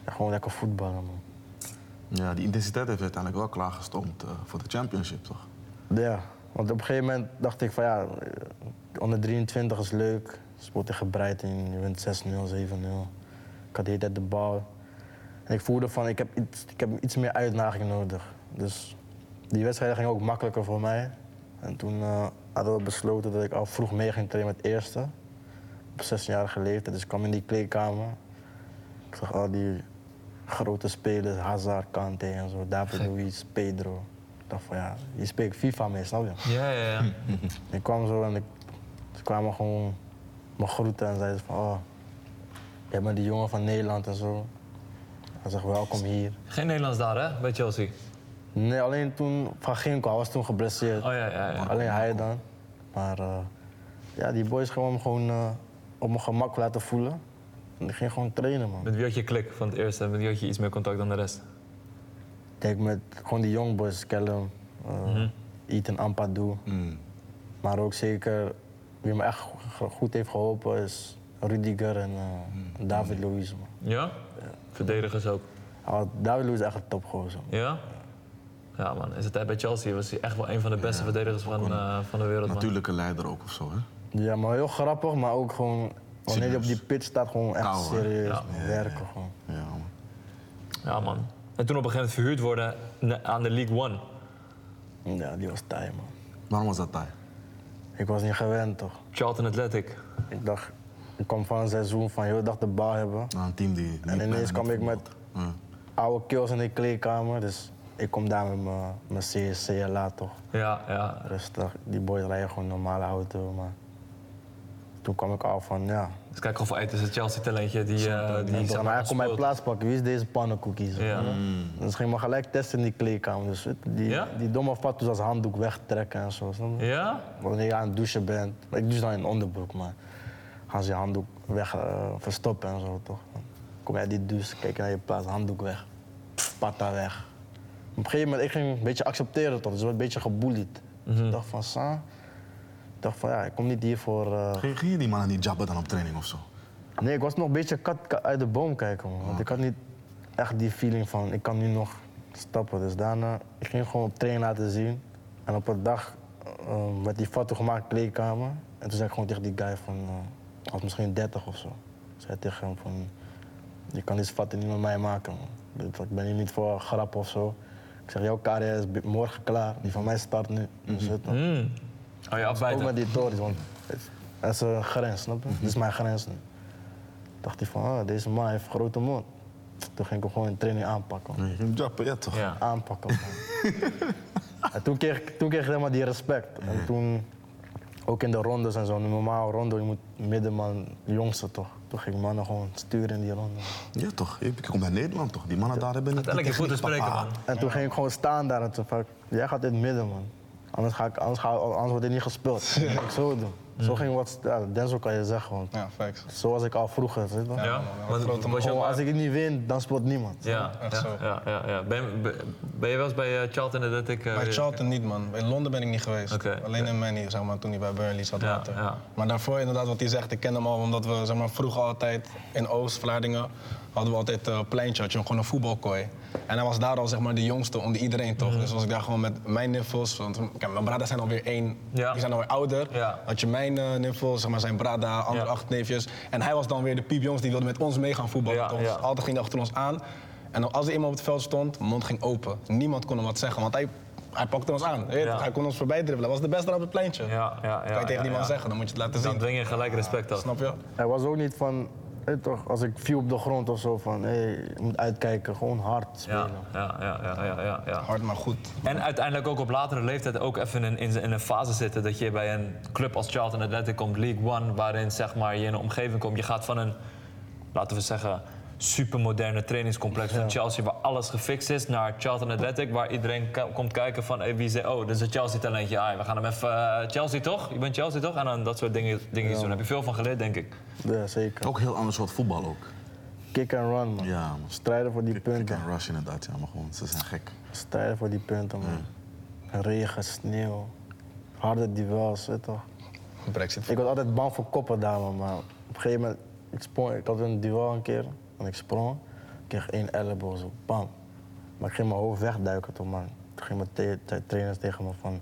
[SPEAKER 1] ja, gewoon lekker voetballen, man.
[SPEAKER 3] Ja, die intensiteit heeft uiteindelijk wel klaargestoomd eh, voor de championship, toch?
[SPEAKER 1] Ja, want op een gegeven moment dacht ik van ja, eh, onder 23 is leuk. Je Speelt tegen Breiten, je wint 6-0, 7-0. Ik had de hele tijd de bal. En ik voelde van ik heb iets, ik heb iets meer uitdaging nodig. Dus die wedstrijden gingen ook makkelijker voor mij. En toen eh, hadden we besloten dat ik al vroeg mee ging trainen met eerste. Op 16-jarige leeftijd. Dus ik kwam in die kleedkamer. Ik zag al die grote spelers, Hazard, Kante en zo, David Luiz, Pedro. Ik dacht van ja, hier speelt FIFA mee, snap je?
[SPEAKER 2] Ja, ja, ja.
[SPEAKER 1] Ik kwam zo en ik, ze kwamen gewoon me groeten en zeiden van oh, jij bent die jongen van Nederland en zo. Hij zegt welkom hier.
[SPEAKER 2] Geen Nederlands daar hè, bij Chelsea?
[SPEAKER 1] Nee, alleen toen van Ginko, hij was toen geblesseerd.
[SPEAKER 2] Oh ja, ja, ja.
[SPEAKER 1] Alleen hij dan. Maar eh, ja, die boys gewoon gewoon eh, op mijn gemak laten voelen. En ik ging gewoon trainen man.
[SPEAKER 2] Met wie had je klik van het eerste en met wie had je iets meer contact dan de rest?
[SPEAKER 1] Ik denk met gewoon die young boys, Callum, eh Ethan Ampadu.
[SPEAKER 2] Mm.
[SPEAKER 1] Maar ook zeker, wie me echt go- go- goed heeft geholpen is Rudiger en eh,
[SPEAKER 2] Mm.
[SPEAKER 1] David Luiz. man.
[SPEAKER 2] Ja? Verdedigers ook.
[SPEAKER 1] Ah, David Luiz is echt een topgozer. man.
[SPEAKER 2] Ja? Ja, man. In zijn tijd bij Chelsea was hij echt wel een van de beste verdedigers van, eh, van de wereld, man.
[SPEAKER 3] Natuurlijke leider ook of zo, hè?
[SPEAKER 1] Ja, maar heel grappig, maar ook gewoon wanneer je op die pitch staat, gewoon echt
[SPEAKER 3] Kouwen.
[SPEAKER 1] serieus
[SPEAKER 2] Ja.
[SPEAKER 1] man, werken. Gewoon.
[SPEAKER 3] Ja, man.
[SPEAKER 2] Ja, man. En toen op een gegeven moment verhuurd worden na- aan de League One.
[SPEAKER 1] Ja, die was taai man.
[SPEAKER 3] Waarom was dat daar?
[SPEAKER 1] Ik was niet gewend toch.
[SPEAKER 2] Charlton Athletic.
[SPEAKER 1] Ik dacht, ik kwam van een seizoen van heel de dag de bal hebben.
[SPEAKER 3] Nou, een team die. niet
[SPEAKER 1] En
[SPEAKER 3] bijna
[SPEAKER 1] ineens
[SPEAKER 3] niet
[SPEAKER 1] kwam ik met
[SPEAKER 3] voetbalt. Ja.
[SPEAKER 1] oude kills in de kleedkamer, dus ik kom daar met mijn- mijn CS, CLA toch.
[SPEAKER 2] Ja, ja.
[SPEAKER 1] Rustig, die boys rijden gewoon normale auto, maar toen kwam ik al van ja.
[SPEAKER 2] Dus kijk gewoon voor uit, is het Chelsea-talentje die... eh die
[SPEAKER 1] Die
[SPEAKER 2] zeg
[SPEAKER 1] zei,
[SPEAKER 2] maar,
[SPEAKER 1] maar hij kon mijn
[SPEAKER 2] afspeelt.
[SPEAKER 1] plaats pakken, wie is deze pannenkoekies?
[SPEAKER 2] Ja.
[SPEAKER 1] Dus ging me gelijk testen in die kleedkamer. Dus die,
[SPEAKER 2] Ja?
[SPEAKER 1] die domme fatsoes als handdoek wegtrekken en zo. snap je?
[SPEAKER 2] Ja?
[SPEAKER 1] Wanneer je aan het douchen bent, ik douche dan in een onderbroek, maar gaan ze je handdoek weg eh, verstoppen en zo toch? Dan kom jij die douche, kijk je naar je plaats, handdoek weg, patta weg. Op een gegeven moment, ik ging een beetje accepteren toch, dus ik werd een beetje geboelied. Dus ik dacht van, sa, ik dacht van ja, ik kom niet hier voor. eh,
[SPEAKER 3] Ging, ging je die mannen niet jabben dan op training of zo?
[SPEAKER 1] Nee, ik was nog een beetje kat ka- uit de boom kijken, man. Want ik had niet echt die feeling van, ik kan nu nog stappen. Dus daarna, ik ging gewoon op train laten zien. En op een dag eh, werd die foto gemaakt in de kleedkamer. En toen zei ik gewoon tegen die guy van, eh, hij was misschien 30 of zo. Ik zei tegen hem van, je kan deze foto niet met mij maken, man. Dit- Ik ben hier niet voor een grap of zo. Ik zeg, jouw carrière is bi- morgen klaar. Die van mij start nu. Dus het, man.
[SPEAKER 2] Mm. Oh, je
[SPEAKER 1] Ook met
[SPEAKER 2] afbijten.
[SPEAKER 1] die torens, want het- dat is een grens, snap je? Dit is mijn grens nu. dacht hij van, ah, deze man heeft een grote mond. Toen ging ik hem gewoon in training aanpakken. man.
[SPEAKER 3] Nee, je ging jabben, ja toch?
[SPEAKER 2] Ja.
[SPEAKER 1] Aanpakken, man. en toen kreeg, ik- toen kreeg ik helemaal die respect. En toen, ook in de rondes en zo, een normaal ronde, je moet middenman, jongste toch. Toen ging ik mannen gewoon sturen in die ronde.
[SPEAKER 3] Ja, toch? Je je komt uit Nederland toch? Die mannen daar hebben niet.
[SPEAKER 2] Uiteindelijk
[SPEAKER 3] die
[SPEAKER 2] goed te
[SPEAKER 3] techniek,
[SPEAKER 2] spreken,
[SPEAKER 3] papa.
[SPEAKER 2] man.
[SPEAKER 1] En toen ging ik gewoon staan daar en toen van, jij gaat in het midden, man. Anders, ga ik, anders, ga, anders wordt dit niet gespeeld. Dat ging ik zo doen. Zo ging wat, ja, Denzel kan je zeggen, want
[SPEAKER 4] Ja, facts.
[SPEAKER 1] Zoals ik al vroeger. Weet je?
[SPEAKER 2] Ja? Want-
[SPEAKER 4] grote
[SPEAKER 2] was je-
[SPEAKER 1] Gewoon, als ik het niet win, dan speelt niemand.
[SPEAKER 2] Ja,
[SPEAKER 4] Echt
[SPEAKER 2] ja,
[SPEAKER 4] zo.
[SPEAKER 2] ja, ja, ja. Ben, je- ben- ben je wel eens bij eh, Charlton Athletic? eh,
[SPEAKER 4] Bij Charlton niet, man. In Londen ben ik niet geweest.
[SPEAKER 2] Oké.
[SPEAKER 4] Alleen in Manny, zeg maar, toen hij bij Burnley zat
[SPEAKER 2] Ja,
[SPEAKER 4] later.
[SPEAKER 2] ja.
[SPEAKER 4] Maar daarvoor inderdaad, wat hij zegt, ik ken hem al. Omdat we zeg maar, vroeger altijd in Oost-Vlaardingen hadden we altijd eh, een pleintje. Had je gewoon een voetbalkooi. En hij was daar al zeg maar, de jongste onder iedereen, toch?
[SPEAKER 2] Mhm.
[SPEAKER 4] Dus was ik daar gewoon met mijn niffels. Want kijk, mijn brada zijn alweer één.
[SPEAKER 2] Ja.
[SPEAKER 4] Die zijn alweer ouder.
[SPEAKER 2] Ja.
[SPEAKER 4] Had je mijn eh, niffels, zeg maar, zijn brada, andere
[SPEAKER 2] Ja.
[SPEAKER 4] acht neefjes. En hij was dan weer de piepjongs die wilde met ons mee gaan voetballen.
[SPEAKER 2] Ja,
[SPEAKER 4] toch? Dus
[SPEAKER 2] ja.
[SPEAKER 4] altijd ging hij achter ons aan. En dan als er iemand op het veld stond, mond ging open. Niemand kon hem wat zeggen, want hij, hij pakte ons aan. Weet je,
[SPEAKER 2] Ja.
[SPEAKER 4] Hij kon ons voorbij dribbelen. Hij was de beste daar op het pleintje.
[SPEAKER 2] Ja, ja, ja.
[SPEAKER 4] kan je tegen
[SPEAKER 2] ja,
[SPEAKER 4] die man
[SPEAKER 2] ja.
[SPEAKER 4] zeggen, dan moet je het laten
[SPEAKER 2] Dan
[SPEAKER 4] zien.
[SPEAKER 2] dwing je gelijk respect af.
[SPEAKER 4] Snap je?
[SPEAKER 1] Hij was ook niet van, weet je toch, als ik viel op de grond of zo, van hé, je moet uitkijken, gewoon hard
[SPEAKER 2] Ja,
[SPEAKER 1] spelen.
[SPEAKER 2] ja, ja, ja, ja, ja, ja.
[SPEAKER 4] Hard maar goed.
[SPEAKER 2] En uiteindelijk ook op latere leeftijd ook even in, in, in een fase zitten dat je bij een club als Charlton Athletic komt, League One, waarin zeg maar, je in een omgeving komt. Je gaat van een, laten we zeggen, supermoderne trainingscomplex van Chelsea waar alles gefixt is, naar Charlton Athletic waar iedereen ka- komt kijken van hey, wie ze, oh, dat is een Chelsea talentje, ah, we gaan hem even, eh, Chelsea toch? Je bent Chelsea toch? En dan dat soort dingen, dingen doen. Daar heb je veel van geleerd, denk ik.
[SPEAKER 1] Ja, zeker.
[SPEAKER 3] Ook een heel ander soort voetbal ook.
[SPEAKER 1] Kick and run, man.
[SPEAKER 3] Ja, man.
[SPEAKER 1] Strijden voor die
[SPEAKER 3] Kick
[SPEAKER 1] punten.
[SPEAKER 3] and rush inderdaad, ja, maar gewoon, ze zijn gek.
[SPEAKER 1] Strijden voor die punten, man. Regen, sneeuw, harde duels, weet je toch.
[SPEAKER 4] Brexit.
[SPEAKER 1] Ik was altijd bang voor koppen daar, man, maar op een gegeven moment, ik, sprong, ik had een duel een keer en ik sprong. Ik kreeg één elleboog, zo, bam. Maar ik ging mijn hoofd wegduiken, toch, man. Toen gingen mijn te- te- trainers tegen me van,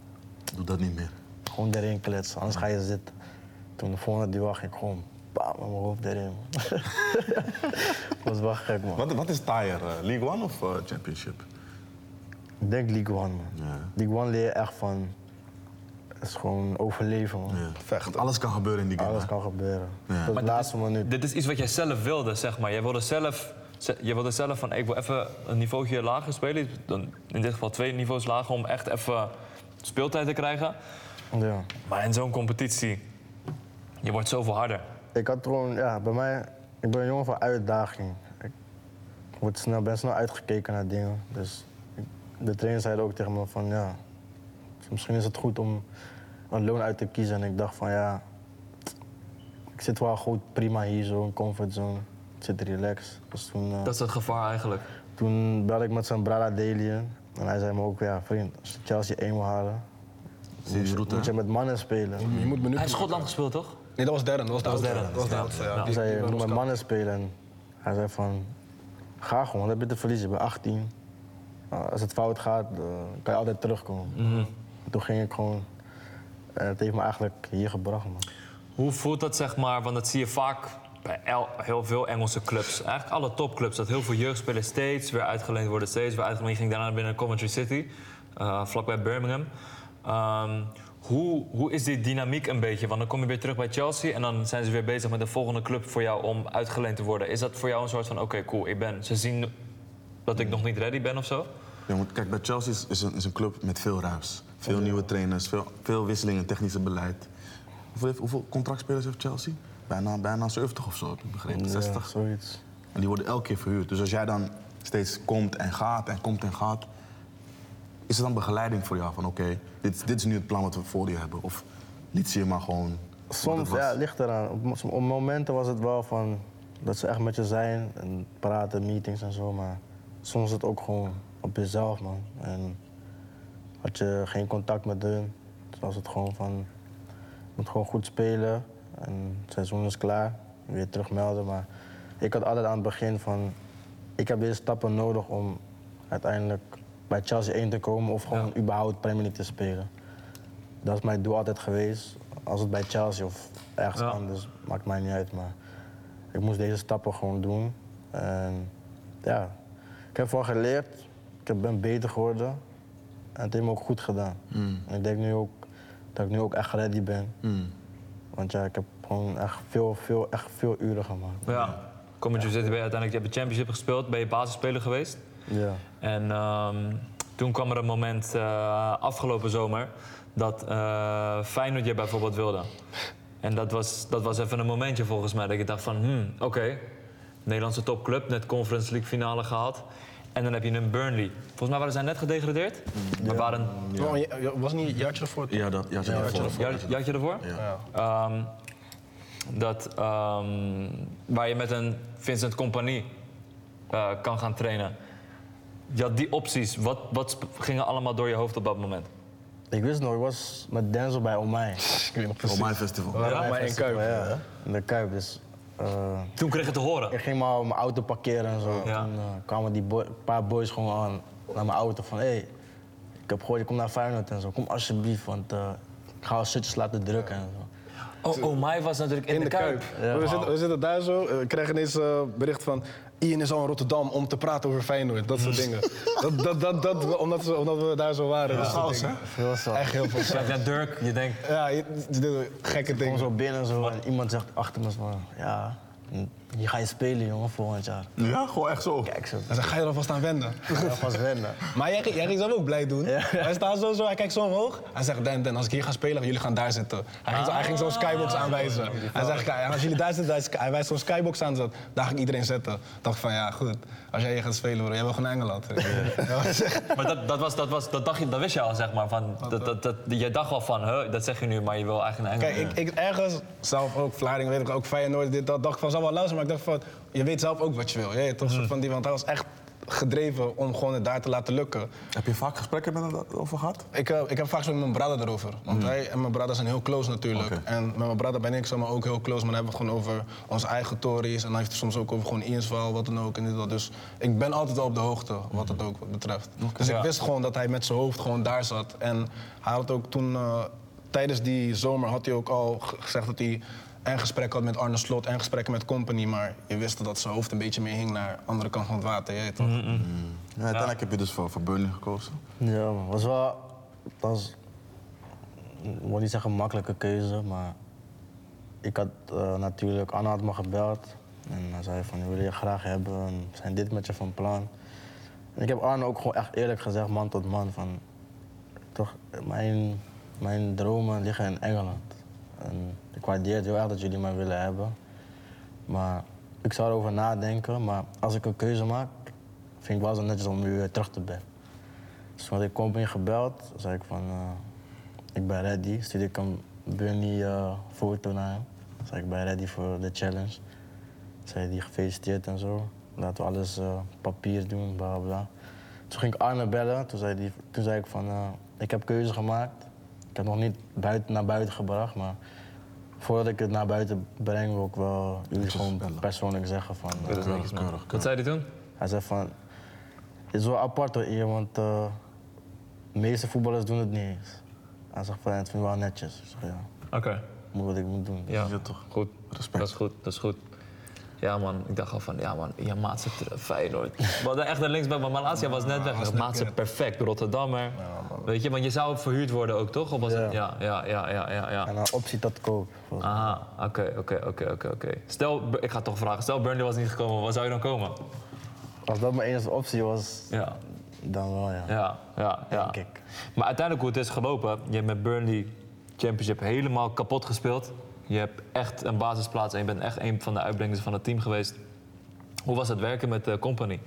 [SPEAKER 3] Doe dat niet meer.
[SPEAKER 1] Gewoon erin kletsen, anders ga je zitten. Toen de volgende duel ging ik gewoon bam, met mijn hoofd erin. man. was wel gek, man.
[SPEAKER 3] Wat, wat is taaier? eh, League One of eh, Championship?
[SPEAKER 1] Ik denk League One, man.
[SPEAKER 3] Ja.
[SPEAKER 1] League One leer je echt van... Het is gewoon overleven, man.
[SPEAKER 3] Ja. Want Alles kan gebeuren in die game.
[SPEAKER 1] Alles
[SPEAKER 3] hè?
[SPEAKER 1] kan gebeuren.
[SPEAKER 3] Ja.
[SPEAKER 1] Tot de laatste minuut.
[SPEAKER 2] Dit is iets wat jij zelf wilde, zeg maar. Jij wilde zelf, ze- jij wilde zelf van, ik wil even een niveautje lager spelen. Dan in dit geval twee niveaus lager, om echt even speeltijd te krijgen.
[SPEAKER 1] Ja.
[SPEAKER 2] Maar in zo'n competitie, je wordt zoveel harder.
[SPEAKER 1] Ik had gewoon, ja, bij mij... Ik ben een jongen van uitdaging. Ik word snel, ben snel uitgekeken naar dingen. Dus ik- de trainer zei ook tegen me van, ja... Misschien is het goed om een loon uit te kiezen. En ik dacht van, ja... Ik zit wel goed, prima hier zo, in comfortzone. Ik zit relaxed. Dus toen, eh,
[SPEAKER 2] Dat is het gevaar eigenlijk.
[SPEAKER 1] toen belde ik met zijn Brada Delian. En hij zei me ook, ja vriend, als je Chelsea 1 wil halen...
[SPEAKER 3] Zie je die route?
[SPEAKER 1] Moet je met mannen spelen.
[SPEAKER 4] Je moet
[SPEAKER 2] Hij
[SPEAKER 4] minuten...
[SPEAKER 2] is Schotland gespeeld, toch?
[SPEAKER 4] Nee, dat was Darren. Dat was de
[SPEAKER 2] was
[SPEAKER 4] oudste.
[SPEAKER 2] Darren.
[SPEAKER 4] Dat was de
[SPEAKER 2] Ja.
[SPEAKER 4] oudste, ja.
[SPEAKER 2] Ja.
[SPEAKER 1] Hij
[SPEAKER 4] Die-
[SPEAKER 1] zei,
[SPEAKER 4] die
[SPEAKER 1] je
[SPEAKER 4] bij
[SPEAKER 1] moet
[SPEAKER 4] ons
[SPEAKER 1] met
[SPEAKER 4] kwam.
[SPEAKER 1] mannen spelen. En hij zei van, ga gewoon, wat heb je te verliezen? Ik ben 18. Uh, als het fout gaat, eh, kan je altijd terugkomen. Toen ging ik gewoon. En het heeft me eigenlijk hier gebracht, man.
[SPEAKER 2] Hoe voelt dat, zeg maar? Want dat zie je vaak bij el- heel veel Engelse clubs. Eigenlijk alle topclubs. Dat heel veel jeugdspelers steeds weer uitgeleend worden. Steeds weer uitgeleend. Je ging daarna binnen Coventry City. eh, vlakbij Birmingham. Ehm, hoe, hoe is die dynamiek een beetje? Want dan kom je weer terug bij Chelsea. En dan zijn ze weer bezig met de volgende club voor jou om uitgeleend te worden. Is dat voor jou een soort van, oké, cool, ik ben... Ze zien dat ik nog niet ready ben of zo?
[SPEAKER 3] Ja, want kijk, bij Chelsea is, is, een, is een club met veel ruis. Veel nieuwe trainers, veel, veel wisselingen, technische beleid. Hoeveel, heeft- hoeveel contractspelers heeft Chelsea? Bijna, bijna 70 of zo, heb ik begrepen.
[SPEAKER 1] Ja,
[SPEAKER 3] 60.
[SPEAKER 1] zoiets.
[SPEAKER 3] En die worden elke keer verhuurd. Dus als jij dan steeds komt en gaat en komt en gaat, is er dan begeleiding voor jou van oké, dit, dit is nu het plan wat we voor je hebben? Of liet ze je maar gewoon. wat
[SPEAKER 1] Soms,
[SPEAKER 3] het was?
[SPEAKER 1] ja, het ligt eraan. Op, mo- op momenten was het wel van dat ze echt met je zijn en praten, meetings en zo, maar soms is het ook gewoon op jezelf, man. En had je geen contact met hun, dus was het gewoon van je moet gewoon goed spelen en het seizoen is klaar, weer terugmelden. Maar ik had altijd aan het begin van ik heb deze stappen nodig om uiteindelijk bij Chelsea 1 te komen of gewoon überhaupt Premier League te spelen. Dat is mijn doel altijd geweest. Als het bij Chelsea of ergens
[SPEAKER 2] Ja.
[SPEAKER 1] anders, maakt mij niet uit. Maar ik moest deze stappen gewoon doen. En ja, ik heb van geleerd. Ik heb- ben beter geworden. En het heeft me ook goed gedaan. En ik denk nu ook dat ik nu ook echt ready ben. Want ja, ik heb gewoon echt veel, veel, echt veel uren gemaakt.
[SPEAKER 2] Ja. Coventry City ben je uiteindelijk... Je hebt de championship gespeeld. Ben je basisspeler geweest.
[SPEAKER 1] Ja.
[SPEAKER 2] En ehm, toen kwam er een moment eh, afgelopen zomer dat eh Feyenoord je bijvoorbeeld wilde. En dat was, dat was even een momentje volgens mij. Dat ik dacht van, hmm, oké, Nederlandse topclub, net Conference League finale gehad. En dan heb je een Burnley. Volgens mij waren zij net gedegradeerd. Maar waren,
[SPEAKER 4] Oh, ja, ja, was niet een jaartje ervoor? toch?
[SPEAKER 3] Ja, dat, ja, ja,
[SPEAKER 4] had je ervoor.
[SPEAKER 2] ja, had je ervoor?
[SPEAKER 4] Ja.
[SPEAKER 2] Ehm, dat, ehm, waar je met een Vincent Compagnie eh, kan gaan trainen. Je had die opties. Wat, wat sp- gingen allemaal door je hoofd op dat moment?
[SPEAKER 1] Ik wist nog, ik was met Denzel bij Omai.
[SPEAKER 4] Ik weet nog
[SPEAKER 3] Voor
[SPEAKER 4] precies.
[SPEAKER 3] mijn festival.
[SPEAKER 4] We waren
[SPEAKER 2] Ja,
[SPEAKER 4] allemaal in Kuip.
[SPEAKER 1] Ja, in de Kuip. Dus, eh,
[SPEAKER 2] Toen kreeg je te horen.
[SPEAKER 1] Ik ging maar mijn auto parkeren en zo.
[SPEAKER 2] Ja.
[SPEAKER 1] Toen eh, kwamen die boy- paar boys gewoon aan naar mijn auto van... hé, hey, ik heb gehoord, je komt naar Feyenoord en zo. Kom alsjeblieft, want eh, ik ga al shirtjes laten drukken en zo.
[SPEAKER 2] Oh, oh, mij was natuurlijk in,
[SPEAKER 4] In de Kuip. we, zitten, we zitten daar zo, eh, we krijgen ineens eh, bericht van... Ian is al in Rotterdam om te praten over Feyenoord, dat soort dingen. Dat, dat, dat, dat, we- omdat, we, omdat we daar zo waren. dat soort dingen.
[SPEAKER 1] Veel zo.
[SPEAKER 4] Echt heel veel.
[SPEAKER 2] Ja, Dirk, je denkt,
[SPEAKER 4] Ja, je- dit- dit- gekke
[SPEAKER 1] Ik kom
[SPEAKER 4] dingen.
[SPEAKER 1] zo binnen en zo en iemand zegt achter me van... ja, je gaat je spelen jongen volgend jaar.
[SPEAKER 3] Ja, gewoon echt zo.
[SPEAKER 1] Kijk zo,
[SPEAKER 4] Dan zeg, ga je er alvast aan wennen.
[SPEAKER 1] ik ga vast wennen.
[SPEAKER 4] Maar jij, jij ging zelf ook blij doen. Hij staat zo, zo, hij kijkt zo omhoog. Hij zegt, Den, Den, als ik hier ga spelen, jullie gaan daar zitten. Hij ging, zo, hij ging zo'n skybox aanwijzen. Hij zegt, Ah. "Ja, en als jullie daar zitten, hij is- hij wijst zo'n skybox aan. zegt, Daar ga ik iedereen zetten. dacht ik van, ja, goed. Als jij hier gaat spelen, bro, jij wil gewoon naar Engeland.
[SPEAKER 2] maar dat, dat, was, dat, was, dat, dacht je, dat wist je al, zeg maar. Van, dat, dat, dat, jij dacht al van, hè, dat zeg je nu, maar je wil eigenlijk een
[SPEAKER 4] Kijk,
[SPEAKER 2] Engel.
[SPEAKER 4] ik, ik ergens, zelf ook, Vlaardingen weet ik ook, Feyenoord, dit, dat, dacht ik van, zou wel luisteren. Maar ik dacht van, je weet zelf ook wat je wil. Je weet toch, soort van die, want hij was echt gedreven om gewoon het daar te laten lukken.
[SPEAKER 3] Heb je vaak gesprekken met hem over gehad?
[SPEAKER 4] Ik, eh, ik heb vaak zo met mijn brada erover. Want hij en mijn brada zijn heel close natuurlijk.
[SPEAKER 3] Oké.
[SPEAKER 4] En met mijn brada ben ik zomaar ook heel close. Maar dan hebben we het gewoon over onze eigen tories. En dan heeft het soms ook over gewoon Ian's verhaal, wat dan ook. En dit, dat. Dus ik ben altijd wel op de hoogte, wat het ook wat betreft. Dus
[SPEAKER 2] Ja.
[SPEAKER 4] ik wist gewoon dat hij met zijn hoofd gewoon daar zat. En hij had ook toen, eh, tijdens die zomer, had hij ook al g- gezegd dat hij... En gesprek had met Arne Slot en gesprekken met Company. Maar je wist dat zijn hoofd een beetje meer hing naar de andere kant van het water. Je weet toch?
[SPEAKER 3] Ja, uiteindelijk heb je dus voor, voor Burnley gekozen.
[SPEAKER 1] Ja man, was wel... Het was... Ik wil niet zeggen makkelijke keuze, maar... Ik had eh, natuurlijk... Anna had me gebeld. En hij zei van, we willen je graag hebben. en we zijn dit met je van plan? En ik heb Arne ook gewoon echt eerlijk gezegd, man tot man, van... Toch, mijn, mijn dromen liggen in Engeland. En ik waardeer het heel erg dat jullie mij willen hebben. Maar ik zou erover nadenken, maar als ik een keuze maak... vind ik wel zo netjes om u weer terug te bellen. Dus toen had ik company gebeld, zei ik van, eh, ik ben ready. Stuurde ik een Bunny eh foto naar hem. Zei ik ben ready voor de challenge. Zei die gefeliciteerd en zo. Laten we alles eh, papier doen, bla bla. Toen ging ik Arne bellen. Toen zei, die, toen zei ik van, eh, ik heb keuze gemaakt. Ik heb het nog niet buiten, naar buiten gebracht, maar voordat ik het naar buiten breng, wil ik wel jullie gewoon
[SPEAKER 3] bellen.
[SPEAKER 1] persoonlijk zeggen van. eh,
[SPEAKER 2] Dat is netjes, man.
[SPEAKER 3] keurig,
[SPEAKER 2] Wat zei hij toen?
[SPEAKER 1] hij zei van, het is wel apart hoor hier, want eh, de meeste voetballers doen het niet eens. Hij zegt van, het vind ik wel netjes. Ik zeg, ja,
[SPEAKER 2] Oké.
[SPEAKER 1] ik moet wat ik moet doen.
[SPEAKER 2] Ja.
[SPEAKER 3] Ja, toch.
[SPEAKER 2] Goed.
[SPEAKER 3] Respect.
[SPEAKER 2] Dat is goed, dat is goed. Ja man, ik dacht al van, ja man, je maat zit er- Feyenoord. We hadden echt een linksback, maar Malasia Ah, was net weg. maat zit perfect, Rotterdammer. Weet je, want je zou verhuurd worden ook toch? Of was
[SPEAKER 1] Ja.
[SPEAKER 2] het? Ja, ja, ja, ja, ja. ja.
[SPEAKER 1] En een optie tot koop.
[SPEAKER 2] Aha, oké, oké, oké, oké, oké. Stel, ik ga toch vragen, stel Burnley was niet gekomen, waar zou je dan komen?
[SPEAKER 1] Als dat mijn enige optie was,
[SPEAKER 2] Ja,
[SPEAKER 1] dan wel ja.
[SPEAKER 2] ja, ja. ja.
[SPEAKER 1] Denk ik.
[SPEAKER 2] Maar uiteindelijk hoe het is gelopen, je hebt met Burnley Championship helemaal kapot gespeeld. Je hebt echt een basisplaats en je bent echt een van de uitbrengers van het team geweest. Hoe was het werken met de company?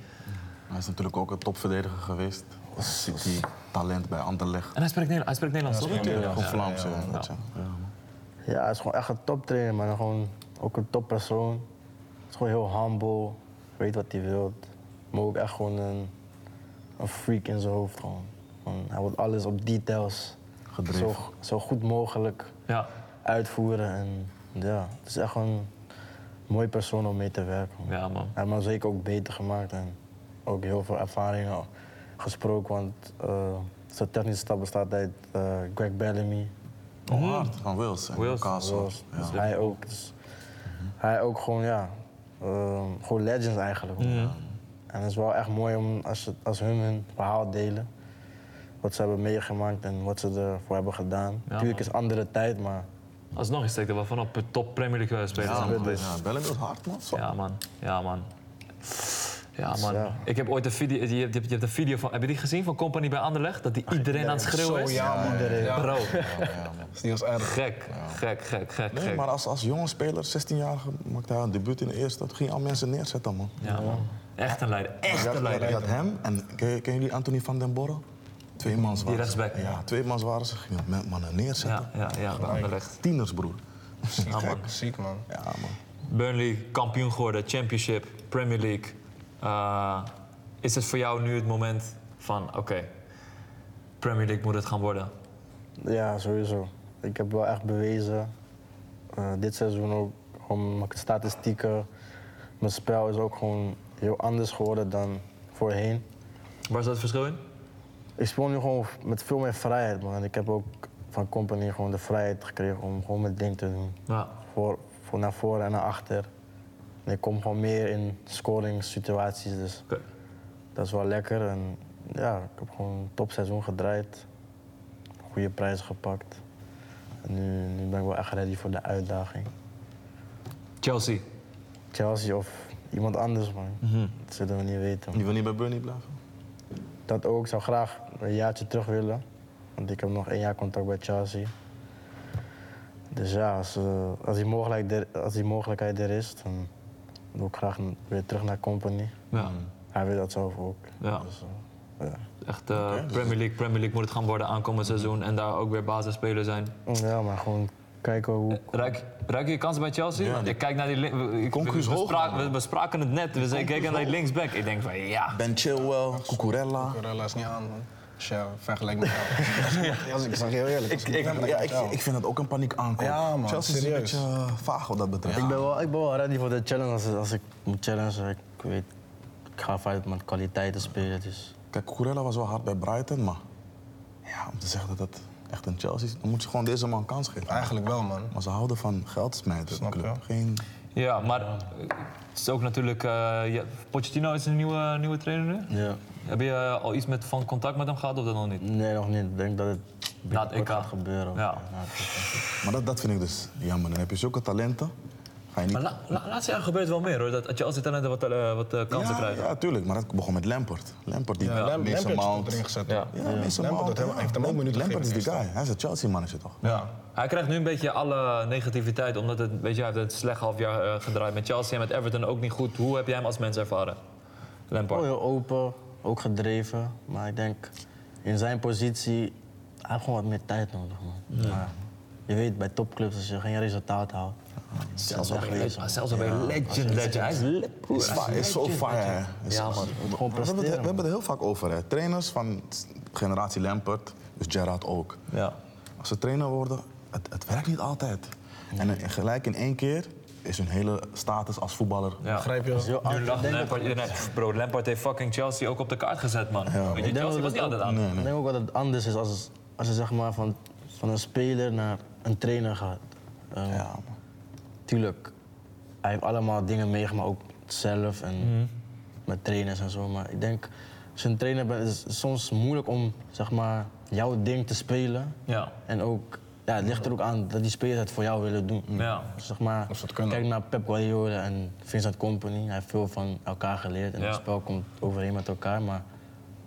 [SPEAKER 3] Hij is natuurlijk ook een topverdediger geweest. City, talent bij Anderlecht.
[SPEAKER 2] En hij spreekt, Nederla- hij spreekt Nederlands, toch?
[SPEAKER 3] Gewoon Vlaams, ja. weet je.
[SPEAKER 1] Ja, hij is gewoon echt een toptrainer, maar gewoon ook een toppersoon. Hij is gewoon heel humble, weet wat hij wil. Maar ook echt gewoon een, een freak in zijn hoofd. Gewoon. Gewoon, hij wil alles op details
[SPEAKER 3] Gedreven.
[SPEAKER 1] zo, zo goed mogelijk
[SPEAKER 2] Ja.
[SPEAKER 1] uitvoeren. En ja, het is echt een mooi persoon om mee te werken. man.
[SPEAKER 2] ja, man.
[SPEAKER 1] Hij heeft me zeker ook beter gemaakt en ook heel veel ervaringen gesproken. Want eh, zijn technische stap bestaat uit eh, Greg Bellamy.
[SPEAKER 2] Hmm.
[SPEAKER 3] Oh, hard. Van Wales. en
[SPEAKER 2] Wales.
[SPEAKER 3] Newcastle.
[SPEAKER 1] Zoals,
[SPEAKER 3] Ja.
[SPEAKER 1] dus hij ook. dus
[SPEAKER 2] Mhm.
[SPEAKER 1] hij ook gewoon, ja. ehm, gewoon legends eigenlijk. En het is wel echt mooi om als, ze- als hun hun verhaal delen. Wat ze hebben meegemaakt en wat ze ervoor hebben gedaan. Natuurlijk
[SPEAKER 2] man.
[SPEAKER 1] is andere tijd, maar
[SPEAKER 2] Alsnog is het er wel van op top Premier League eh, spelers.
[SPEAKER 3] Ja,
[SPEAKER 2] aan.
[SPEAKER 3] man. Ja, Bellingham is hard, man. Zo.
[SPEAKER 2] Ja, man. Ja, man. Ja, man.
[SPEAKER 1] ja.
[SPEAKER 2] Ik heb ooit een video... Je hebt, je hebt- je hebt een video van... Heb je die gezien van Company bij Anderlecht? Dat die iedereen aan het schreeuwen is?
[SPEAKER 1] iedereen.
[SPEAKER 2] Bro,
[SPEAKER 3] Ja, man.
[SPEAKER 4] is niet als Dus erg.
[SPEAKER 2] gek. Gek, gek, gek,
[SPEAKER 3] Nee,
[SPEAKER 2] gek.
[SPEAKER 3] maar als, als jonge speler, 16-jarige, maakte hij een debuut in de eerste. Dat ging al mensen neerzetten, man.
[SPEAKER 2] Ja, man. Echt een leider. Echt
[SPEAKER 3] Je had,
[SPEAKER 2] een leider.
[SPEAKER 3] je had hem en ken, ken jullie Anthony van den Borre? Twee mans waren ze.
[SPEAKER 2] rechtsback.
[SPEAKER 3] Ja, twee mans waren ze. Gingen met mannen neerzetten.
[SPEAKER 2] Ja, ja, ja. bij Anderlecht.
[SPEAKER 3] Tieners, broer.
[SPEAKER 2] Ja, man.
[SPEAKER 4] Ziek, man.
[SPEAKER 3] Ja, man.
[SPEAKER 2] Burnley, kampioen geworden. Championship, Premier League. Eh, is het voor jou nu het moment van... Oké, Premier League moet het gaan worden.
[SPEAKER 1] Ja, sowieso. Ik heb wel echt bewezen, eh, dit seizoen ook, gewoon mijn statistieken. Mijn spel is ook gewoon heel anders geworden dan voorheen.
[SPEAKER 2] Waar zat het verschil in?
[SPEAKER 1] Ik speel nu gewoon met veel meer vrijheid, man. Ik heb ook van Company gewoon de vrijheid gekregen om gewoon mijn ding te doen.
[SPEAKER 2] Ja.
[SPEAKER 1] Voor, voor naar voren en naar achter. En ik kom gewoon meer in scoringssituaties, dus
[SPEAKER 2] Oké.
[SPEAKER 1] dat is wel lekker. En ja, ik heb gewoon een topseizoen gedraaid. Goede prijzen gepakt. En nu, nu ben ik wel echt ready voor de uitdaging.
[SPEAKER 2] Chelsea.
[SPEAKER 1] Chelsea of iemand anders, man. Dat zullen we niet weten.
[SPEAKER 3] Die wil niet bij Burnley blijven.
[SPEAKER 1] Dat ook. Ik zou graag een jaartje terug willen. Want ik heb nog één jaar contact bij Chelsea. Dus ja, als, eh, als, die, mogelijkheid er, als die mogelijkheid er is, dan wil ik graag n- weer terug naar Company.
[SPEAKER 2] Ja.
[SPEAKER 1] Hij wil dat zelf ook.
[SPEAKER 2] Ja.
[SPEAKER 1] Dus, eh, ja.
[SPEAKER 2] Echt eh, Premier League. Premier League moet het gaan worden aankomend seizoen. En daar ook weer basisspeler zijn.
[SPEAKER 1] ja, maar gewoon kijken hoe...
[SPEAKER 2] Ruik, ruik je kansen bij Chelsea? Want ik kijk naar die... lin- we- ik-
[SPEAKER 3] Concus
[SPEAKER 2] we, we,
[SPEAKER 3] hoog,
[SPEAKER 2] spraken-
[SPEAKER 3] man.
[SPEAKER 2] we, we spraken het net. We zeiden, keken naar die linksback. Ik denk van ja.
[SPEAKER 3] Ben Chilwell, Cucurella.
[SPEAKER 4] Corella is niet aan, man. Dus ja, vergelijk met jou. ja. Als ik zeg je heel eerlijk. als
[SPEAKER 3] Ik, ik,
[SPEAKER 4] vergelijk
[SPEAKER 3] ja,
[SPEAKER 4] met
[SPEAKER 3] ik,
[SPEAKER 4] jou.
[SPEAKER 3] ik vind het ook een paniek aankoop.
[SPEAKER 4] Ja, man,
[SPEAKER 3] Chelsea is een
[SPEAKER 4] serieus.
[SPEAKER 3] beetje eh, vaag wat dat betreft.
[SPEAKER 1] Ik ben, wel, ik ben wel ready voor de challenge. Als, als ik moet challengen, ik weet... Ik ga vaak met kwaliteiten spelen, dus...
[SPEAKER 3] Kijk, Cucurella was wel hard bij Brighton, maar... Ja, om te zeggen dat dat echt een Chelsea is... dan moet je gewoon deze man een kans geven.
[SPEAKER 4] Eigenlijk wel, man.
[SPEAKER 3] Maar ze houden van geld smijten.
[SPEAKER 4] Snap
[SPEAKER 3] club.
[SPEAKER 4] je.
[SPEAKER 3] Geen...
[SPEAKER 2] Ja, maar eh, het is ook natuurlijk... eh, ja, Pochettino is een nieuwe, nieuwe trainer nu.
[SPEAKER 1] Ja.
[SPEAKER 2] Heb je eh, al iets met, van contact met hem gehad of dat nog niet?
[SPEAKER 1] Nee, nog niet. Ik denk dat het
[SPEAKER 2] Na het
[SPEAKER 1] binnenkort
[SPEAKER 2] EK.
[SPEAKER 1] gaat gebeuren.
[SPEAKER 2] Ja.
[SPEAKER 1] Na het EK.
[SPEAKER 3] Maar dat, dat vind ik dus jammer. Dan heb je zulke talenten. Ga je niet...
[SPEAKER 2] Maar la, la, laatste jaar gebeurt wel meer hoor. Dat Chelsea talenten wat, eh, wat eh, kansen
[SPEAKER 3] ja,
[SPEAKER 2] krijgen.
[SPEAKER 3] ja, tuurlijk. Maar dat begon met Lampert. Lampert die
[SPEAKER 4] Ja, Lam-
[SPEAKER 3] Mason
[SPEAKER 4] Lampert
[SPEAKER 3] Mount.
[SPEAKER 4] wordt erin gezet.
[SPEAKER 2] Ja.
[SPEAKER 3] Ja, Mason
[SPEAKER 4] Lampert
[SPEAKER 3] Mount.
[SPEAKER 4] heeft hem- heeft hem ook
[SPEAKER 3] Lam-
[SPEAKER 4] minuten
[SPEAKER 3] Lampert is
[SPEAKER 4] gegeven
[SPEAKER 3] die guy. Hij is een Chelsea-manager toch?
[SPEAKER 4] Ja.
[SPEAKER 2] Hij krijgt nu een beetje alle negativiteit, omdat het, weet je, hij heeft het slecht half jaar eh, gedraaid met Chelsea en met Everton ook niet goed. Hoe heb jij hem als mens ervaren? Lampard.
[SPEAKER 1] Gewoon heel open, ook gedreven. Maar ik denk in zijn positie, hij heeft gewoon wat meer tijd nodig. Man. Maar je weet, bij topclubs, als je geen resultaat haalt.
[SPEAKER 2] zelfs
[SPEAKER 1] dat
[SPEAKER 2] al
[SPEAKER 1] is
[SPEAKER 2] bij,
[SPEAKER 1] echt
[SPEAKER 2] ah, zelfs al bij legend, legend. Hij is le- broer,
[SPEAKER 3] Is,
[SPEAKER 2] hij
[SPEAKER 3] fire, is zo fire. hè. Is-
[SPEAKER 2] Ja, man.
[SPEAKER 3] We hebben, het, we
[SPEAKER 1] presteren,
[SPEAKER 3] hebben het er heel vaak over. Hè. Trainers van s- generatie Lampert, dus Gerrard ook.
[SPEAKER 2] Ja.
[SPEAKER 3] Als ze trainer worden, het, het werkt niet altijd. En eh, gelijk in één keer is hun hele status als voetballer.
[SPEAKER 2] Ja.
[SPEAKER 4] Begrijp je?
[SPEAKER 1] Heel
[SPEAKER 2] Nu
[SPEAKER 1] hard
[SPEAKER 2] lacht
[SPEAKER 1] denken.
[SPEAKER 2] Lampard. iedereen- Bro, Lampard heeft fucking Chelsea ook op de kaart gezet, man. Weet je,
[SPEAKER 1] Ik denk
[SPEAKER 2] Chelsea
[SPEAKER 1] dat
[SPEAKER 2] was
[SPEAKER 1] het
[SPEAKER 2] niet altijd
[SPEAKER 1] ook-
[SPEAKER 2] aan.
[SPEAKER 1] Ik denk ook dat het anders is als, als je zeg maar van, van een speler naar een trainer gaat. Eh,
[SPEAKER 3] Ja, man.
[SPEAKER 1] Tuurlijk, hij heeft allemaal dingen meegemaakt, ook zelf en met trainers en zo. Maar ik denk, als je een trainer bent, is het soms moeilijk om zeg maar, jouw ding te spelen.
[SPEAKER 2] Ja.
[SPEAKER 1] En ook, ja, het ligt er ook aan dat die spelers het voor jou willen doen.
[SPEAKER 2] Ja.
[SPEAKER 1] Dus zeg maar,
[SPEAKER 4] Als ze het kunnen.
[SPEAKER 1] kijk naar Pep Guardiola en Vincent Company. Hij heeft veel van elkaar geleerd en
[SPEAKER 2] Ja.
[SPEAKER 1] het spel komt overeen met elkaar. Maar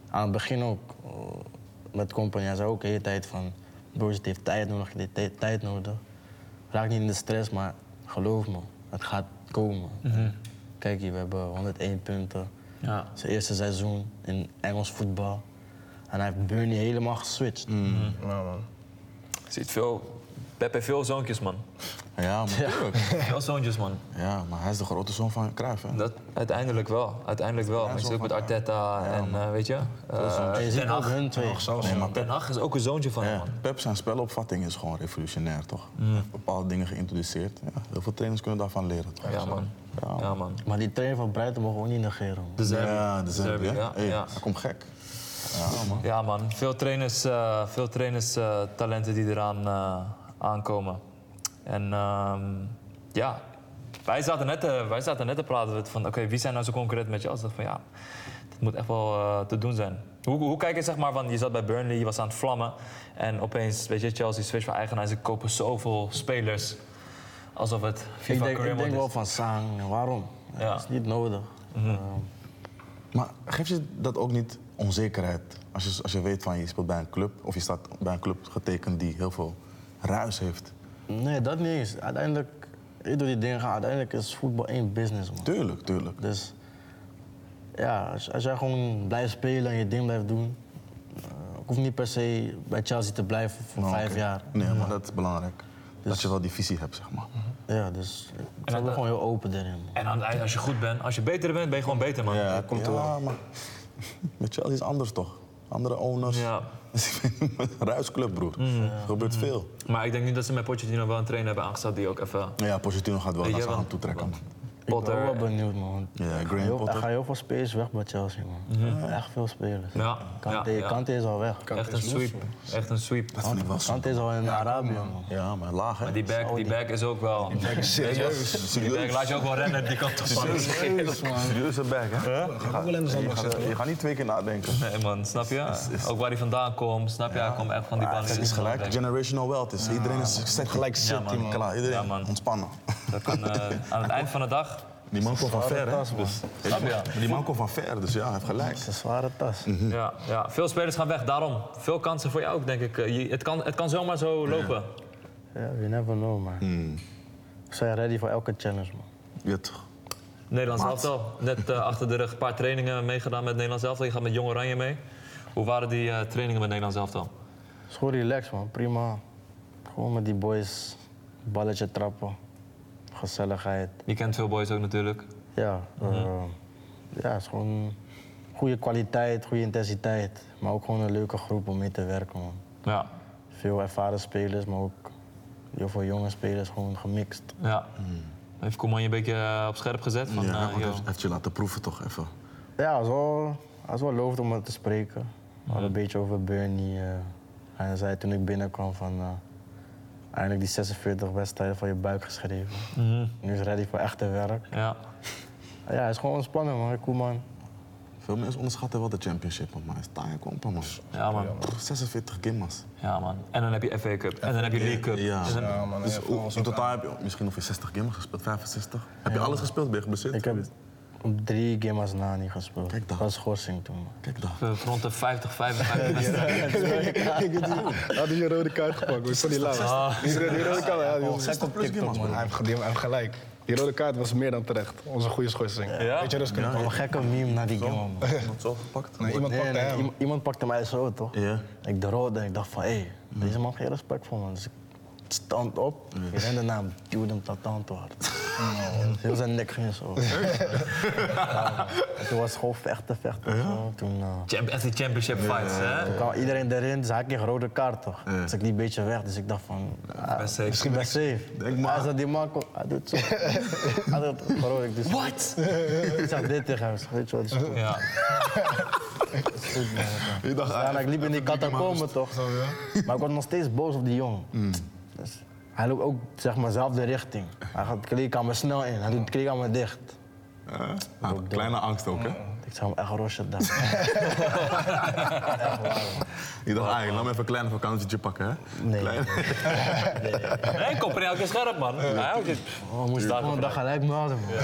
[SPEAKER 1] aan het begin ook eh, met Company, hij zei ook de hele tijd van... Broers, het heeft tijd nodig, het heeft tij- tijd nodig. Raak niet in de stress, maar geloof me, het gaat komen.
[SPEAKER 2] Mhm.
[SPEAKER 1] Kijk hier, we hebben 101 punten.
[SPEAKER 2] Ja.
[SPEAKER 1] Zijn eerste seizoen in Engels voetbal. En hij heeft Burnley helemaal geswitcht.
[SPEAKER 4] Ja, man.
[SPEAKER 2] Je ziet veel... Pep heeft veel zoontjes, man.
[SPEAKER 3] Ja, maar, tuurlijk.
[SPEAKER 2] Veel zoontjes, man.
[SPEAKER 3] ja, maar hij is de grote zoon van Cruijff. Hè?
[SPEAKER 2] Dat, uiteindelijk wel. Uiteindelijk wel. Maar je
[SPEAKER 3] zo
[SPEAKER 2] zit ook
[SPEAKER 3] van-
[SPEAKER 2] met Arteta en eh, weet je... eh,
[SPEAKER 1] en je ziet
[SPEAKER 2] Ten
[SPEAKER 1] ook
[SPEAKER 2] Hag.
[SPEAKER 1] hun twee.
[SPEAKER 3] Nee, maar
[SPEAKER 2] Ten Hag is ook een zoontje van hem,
[SPEAKER 3] Ja,
[SPEAKER 2] man. Mm.
[SPEAKER 3] Pep zijn spelopvatting is gewoon revolutionair, toch? Hij heeft bepaalde dingen geïntroduceerd. Ja, heel veel trainers kunnen daarvan leren. toch?
[SPEAKER 2] Ja, man. Ja, man.
[SPEAKER 1] Maar die trainer van Breiten mogen we ook niet negeren. man.
[SPEAKER 2] De Zerbi.
[SPEAKER 3] Ja, de Zerbi, hè?
[SPEAKER 2] ja.
[SPEAKER 3] Hey,
[SPEAKER 2] ja.
[SPEAKER 3] Hij komt gek. Ja, man.
[SPEAKER 2] Ja, man. Veel trainers, eh, veel trainers eh, talenten die eraan eh, aankomen. En ehm, ja, wij zaten, net te, wij zaten net te praten van... oké, wie zijn nou zo concurrent met jou? Ik dacht van ja, dat moet echt wel eh, te doen zijn. Hoe, hoe kijk je zeg maar van... je zat bij Burnley, je was aan het vlammen... en opeens, weet je, Chelsea switch van eigenaar... ze kopen zoveel spelers... alsof het FIFA
[SPEAKER 1] Ik denk, ik
[SPEAKER 2] Career Mode
[SPEAKER 1] denk
[SPEAKER 2] is.
[SPEAKER 1] wel van Sang, waarom? Ja,
[SPEAKER 2] Ja.
[SPEAKER 1] Dat is niet nodig.
[SPEAKER 3] Maar geeft je dat ook niet onzekerheid? Als je, als je weet van je speelt bij een club of je staat bij een club getekend die heel veel ruis heeft.
[SPEAKER 1] Nee, dat niet eens. Uiteindelijk, ik doe die dingen, uiteindelijk is voetbal één business, man.
[SPEAKER 3] Tuurlijk, tuurlijk.
[SPEAKER 1] Dus ja, als, als jij gewoon blijft spelen en je ding blijft doen. eh, ik hoef niet per se bij Chelsea te blijven voor
[SPEAKER 3] Nou,
[SPEAKER 1] vijf
[SPEAKER 3] oké.
[SPEAKER 1] jaar.
[SPEAKER 3] Nee, maar dat is belangrijk. Dat je wel die visie hebt, zeg maar.
[SPEAKER 1] Ja, dus ik ben
[SPEAKER 2] dat-
[SPEAKER 1] gewoon heel open daarin. man.
[SPEAKER 2] En aan het eind, als je goed bent, als je beter bent, ben je gewoon beter, man.
[SPEAKER 3] Ja, komt ja maar met Chelsea is anders toch? Andere owners.
[SPEAKER 2] Ja.
[SPEAKER 3] Dus ik vind het een ruisclub, broer. Er gebeurt veel.
[SPEAKER 2] Maar ik denk nu dat ze met Pochettino wel een trainer hebben aangesteld die ook even...
[SPEAKER 3] Ja, Pochettino gaat wel
[SPEAKER 2] Weet
[SPEAKER 3] naar
[SPEAKER 2] je
[SPEAKER 3] zijn
[SPEAKER 2] wel-
[SPEAKER 3] hand toetrekken. man.
[SPEAKER 1] Ik ben
[SPEAKER 2] Potter.
[SPEAKER 1] wel benieuwd, man.
[SPEAKER 3] Ja,
[SPEAKER 1] Er gaan
[SPEAKER 3] Graham
[SPEAKER 1] heel-
[SPEAKER 3] Potter.
[SPEAKER 1] Er gaan heel veel spelers weg bij Chelsea, man. Echt veel spelers.
[SPEAKER 2] Mhm. Ja,
[SPEAKER 1] Kante,
[SPEAKER 2] ja, ja.
[SPEAKER 1] Kante is al weg.
[SPEAKER 2] Echt een sweep. Echt een sweep.
[SPEAKER 3] Dat vond ik wel zo.
[SPEAKER 1] Kante is al in Arabië, man.
[SPEAKER 3] Ja, maar laag, hè?
[SPEAKER 2] Die back, die back is ook wel.
[SPEAKER 3] Serieus.
[SPEAKER 2] Die back laat je ook wel rennen die kant op. man.
[SPEAKER 3] Serieus, man. Serieuze back, hè? Je gaat-
[SPEAKER 4] wel in de
[SPEAKER 3] je
[SPEAKER 4] zandbak
[SPEAKER 3] gaat- Je gaat niet twee keer nadenken.
[SPEAKER 2] Nee man, snap je? Ook waar hij vandaan komt, snap je? Hij komt echt van die
[SPEAKER 3] Ah, Het
[SPEAKER 2] banen.
[SPEAKER 3] is gelijk, generational wealth is. Iedereen is stack.
[SPEAKER 4] Gelijk
[SPEAKER 2] Ja,
[SPEAKER 4] City,
[SPEAKER 2] man.
[SPEAKER 4] man.
[SPEAKER 3] Klaar, iedereen
[SPEAKER 2] Ja, man.
[SPEAKER 3] ontspannen.
[SPEAKER 2] Dat kan eh, aan het eind van de dag.
[SPEAKER 3] Die man komt van ver, hè?
[SPEAKER 1] tas, man.
[SPEAKER 3] Dus-
[SPEAKER 2] Snap je?
[SPEAKER 3] Die man komt van ver, dus ja, hij heeft gelijk.
[SPEAKER 1] Het is een zware tas.
[SPEAKER 2] Ja, ja, veel spelers gaan weg, daarom. Veel kansen voor jou ook, denk ik. Eh, je- Het kan, het kan zomaar zo lopen.
[SPEAKER 1] Ja, you never know, man. We zijn ready voor elke challenge, man.
[SPEAKER 3] Ja, toch.
[SPEAKER 2] Nederlands elftal, net eh, achter de rug. Een paar trainingen meegedaan met Nederlands elftal. Je gaat met Jong Oranje mee. Hoe waren die eh, trainingen met Nederlands elftal?
[SPEAKER 1] Het is gewoon relaxed, man. Prima. Gewoon met die boys balletje trappen. Gezelligheid.
[SPEAKER 2] Je kent veel boys ook natuurlijk.
[SPEAKER 1] Ja, eh, ja, het is gewoon goede kwaliteit, goede intensiteit. Maar ook gewoon een leuke groep om mee te werken, man.
[SPEAKER 2] Ja,
[SPEAKER 1] Veel ervaren spelers, maar ook heel veel jonge spelers, gewoon gemixt.
[SPEAKER 2] ja. Heeft Coman je een beetje eh, op scherp gezet? Van,
[SPEAKER 3] Hmm. Ja,
[SPEAKER 2] eh,
[SPEAKER 3] want hij
[SPEAKER 2] yo.
[SPEAKER 3] heeft- heeft je laten proeven toch even.
[SPEAKER 1] Ja, het was wel, het was wel lovend om het te spreken. We hadden een beetje over Bernie. eh. hij zei toen ik binnenkwam van... eh, eindelijk die 46 wedstrijden van je buik geschreven. Nu is hij ready voor echte werk.
[SPEAKER 2] Ja,
[SPEAKER 1] Ja, hij is gewoon ontspannen man, cool man.
[SPEAKER 3] Veel mensen onderschatten wel de championship, man. Maar het is taaie kompa, man.
[SPEAKER 2] ja man.
[SPEAKER 3] Pff, 46 gimmers.
[SPEAKER 2] ja man. En dan heb je FA Cup. En dan heb je League Cup.
[SPEAKER 3] Ja.
[SPEAKER 2] En dan-
[SPEAKER 4] Ja, man.
[SPEAKER 3] Dus
[SPEAKER 4] ja,
[SPEAKER 3] hoe-
[SPEAKER 4] volgens
[SPEAKER 3] in
[SPEAKER 4] ook
[SPEAKER 3] totaal heb je misschien ongeveer 60 gimmers gespeeld, 65. Heb je alles gespeeld? Ben je geblesseerd?
[SPEAKER 1] Ik heb op drie games na niet gespeeld.
[SPEAKER 3] Kijk daar.
[SPEAKER 1] Dat was schorsing toen man.
[SPEAKER 3] Kijk daar.
[SPEAKER 2] eh, Rond de 50, 55 wedstrijden.
[SPEAKER 4] Had hij je rode kaart gepakt, was dat niet lauw? Die rode die rode kaart, ja, die was-
[SPEAKER 3] 60 plus gimmers, man.
[SPEAKER 4] Hij heeft ge- die- hij heeft gelijk. Die rode kaart was meer dan terecht. Onze goede schorsing.
[SPEAKER 2] Ja?
[SPEAKER 4] Weet je, dus kunnen
[SPEAKER 1] Wat een gekke meme na die game Oh, man.
[SPEAKER 3] Iemand zo gepakt?
[SPEAKER 4] Nee, iemand
[SPEAKER 1] Nee,
[SPEAKER 4] pakte
[SPEAKER 1] nee,
[SPEAKER 4] hem.
[SPEAKER 1] iem- iemand pakte mij zo toch?
[SPEAKER 3] Ja.
[SPEAKER 1] Ik de rode en ik dacht van hé, hey, deze man heeft geen respect voor me. Dus ik stond op, ik rende naar hem, duwde hem tot aan het hard.
[SPEAKER 3] Oh.
[SPEAKER 1] Heel zijn nek ging zo. Ja, Toen was het gewoon vechten, vechten. zo. Toen eh,
[SPEAKER 2] Champ- Echt die championship fights, hè?
[SPEAKER 1] kwam iedereen erin, dus hij kreeg rode kaart toch. Dus ik liep een beetje weg, dus ik dacht van... ah,
[SPEAKER 2] best safe.
[SPEAKER 1] Misschien best safe.
[SPEAKER 3] Denk maar.
[SPEAKER 1] Als dat die man komt, hij doet zo. hij doet rode, dus
[SPEAKER 2] What?
[SPEAKER 1] ik zeg dit tegen hem. Ik zeg, Weet je Dus- wat, is goed.
[SPEAKER 2] Ja.
[SPEAKER 3] Ik dacht,
[SPEAKER 4] "Ah,
[SPEAKER 1] Ja, en ik liep in die
[SPEAKER 3] komen
[SPEAKER 1] katakomben toch. Maar ik was nog steeds boos op die jongen. Dus hij loopt ook zeg maar zelf de richting. Hij gaat kleedkamer snel in, hij doet de kleedkamer dicht.
[SPEAKER 3] Eh, Kleine angst ook, hè?
[SPEAKER 1] Ik zag hem echt rossen daar.
[SPEAKER 3] Ik dacht, ah, laat me even een kleine vakantietje pakken, hè?
[SPEAKER 1] Nee.
[SPEAKER 3] Klein-
[SPEAKER 2] Nee, Koppen elke keer scherp, man. Hij houdt dit.
[SPEAKER 1] Oh, moest
[SPEAKER 2] Daar
[SPEAKER 1] gewoon een dag gelijk melden, man.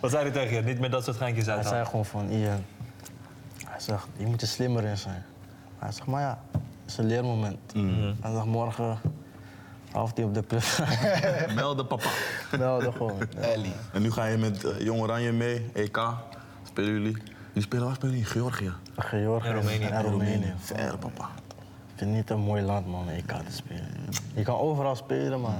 [SPEAKER 2] Wat zei hij tegen je? Niet meer dat soort geintjes
[SPEAKER 1] Hij
[SPEAKER 2] uit.
[SPEAKER 1] zei gewoon van, Ian, hij zegt, je moet er slimmer in zijn. Hij zegt, maar ja, het is een leermoment.
[SPEAKER 2] Mm.
[SPEAKER 1] Hij zegt, morgen half tien op de club.
[SPEAKER 3] Melden papa.
[SPEAKER 1] Melden gewoon.
[SPEAKER 4] Ellie.
[SPEAKER 3] En nu ga je met eh, Jong Oranje mee, EK. Spelen jullie? Jullie spelen waar spelen jullie? In Georgië.
[SPEAKER 1] Georgië
[SPEAKER 2] En Roemenië.
[SPEAKER 1] En Ah, Roemenië.
[SPEAKER 3] Ver, papa.
[SPEAKER 1] Ik vind het niet een mooi land, man, om EK te spelen. Je kan overal spelen, maar...
[SPEAKER 2] Mm.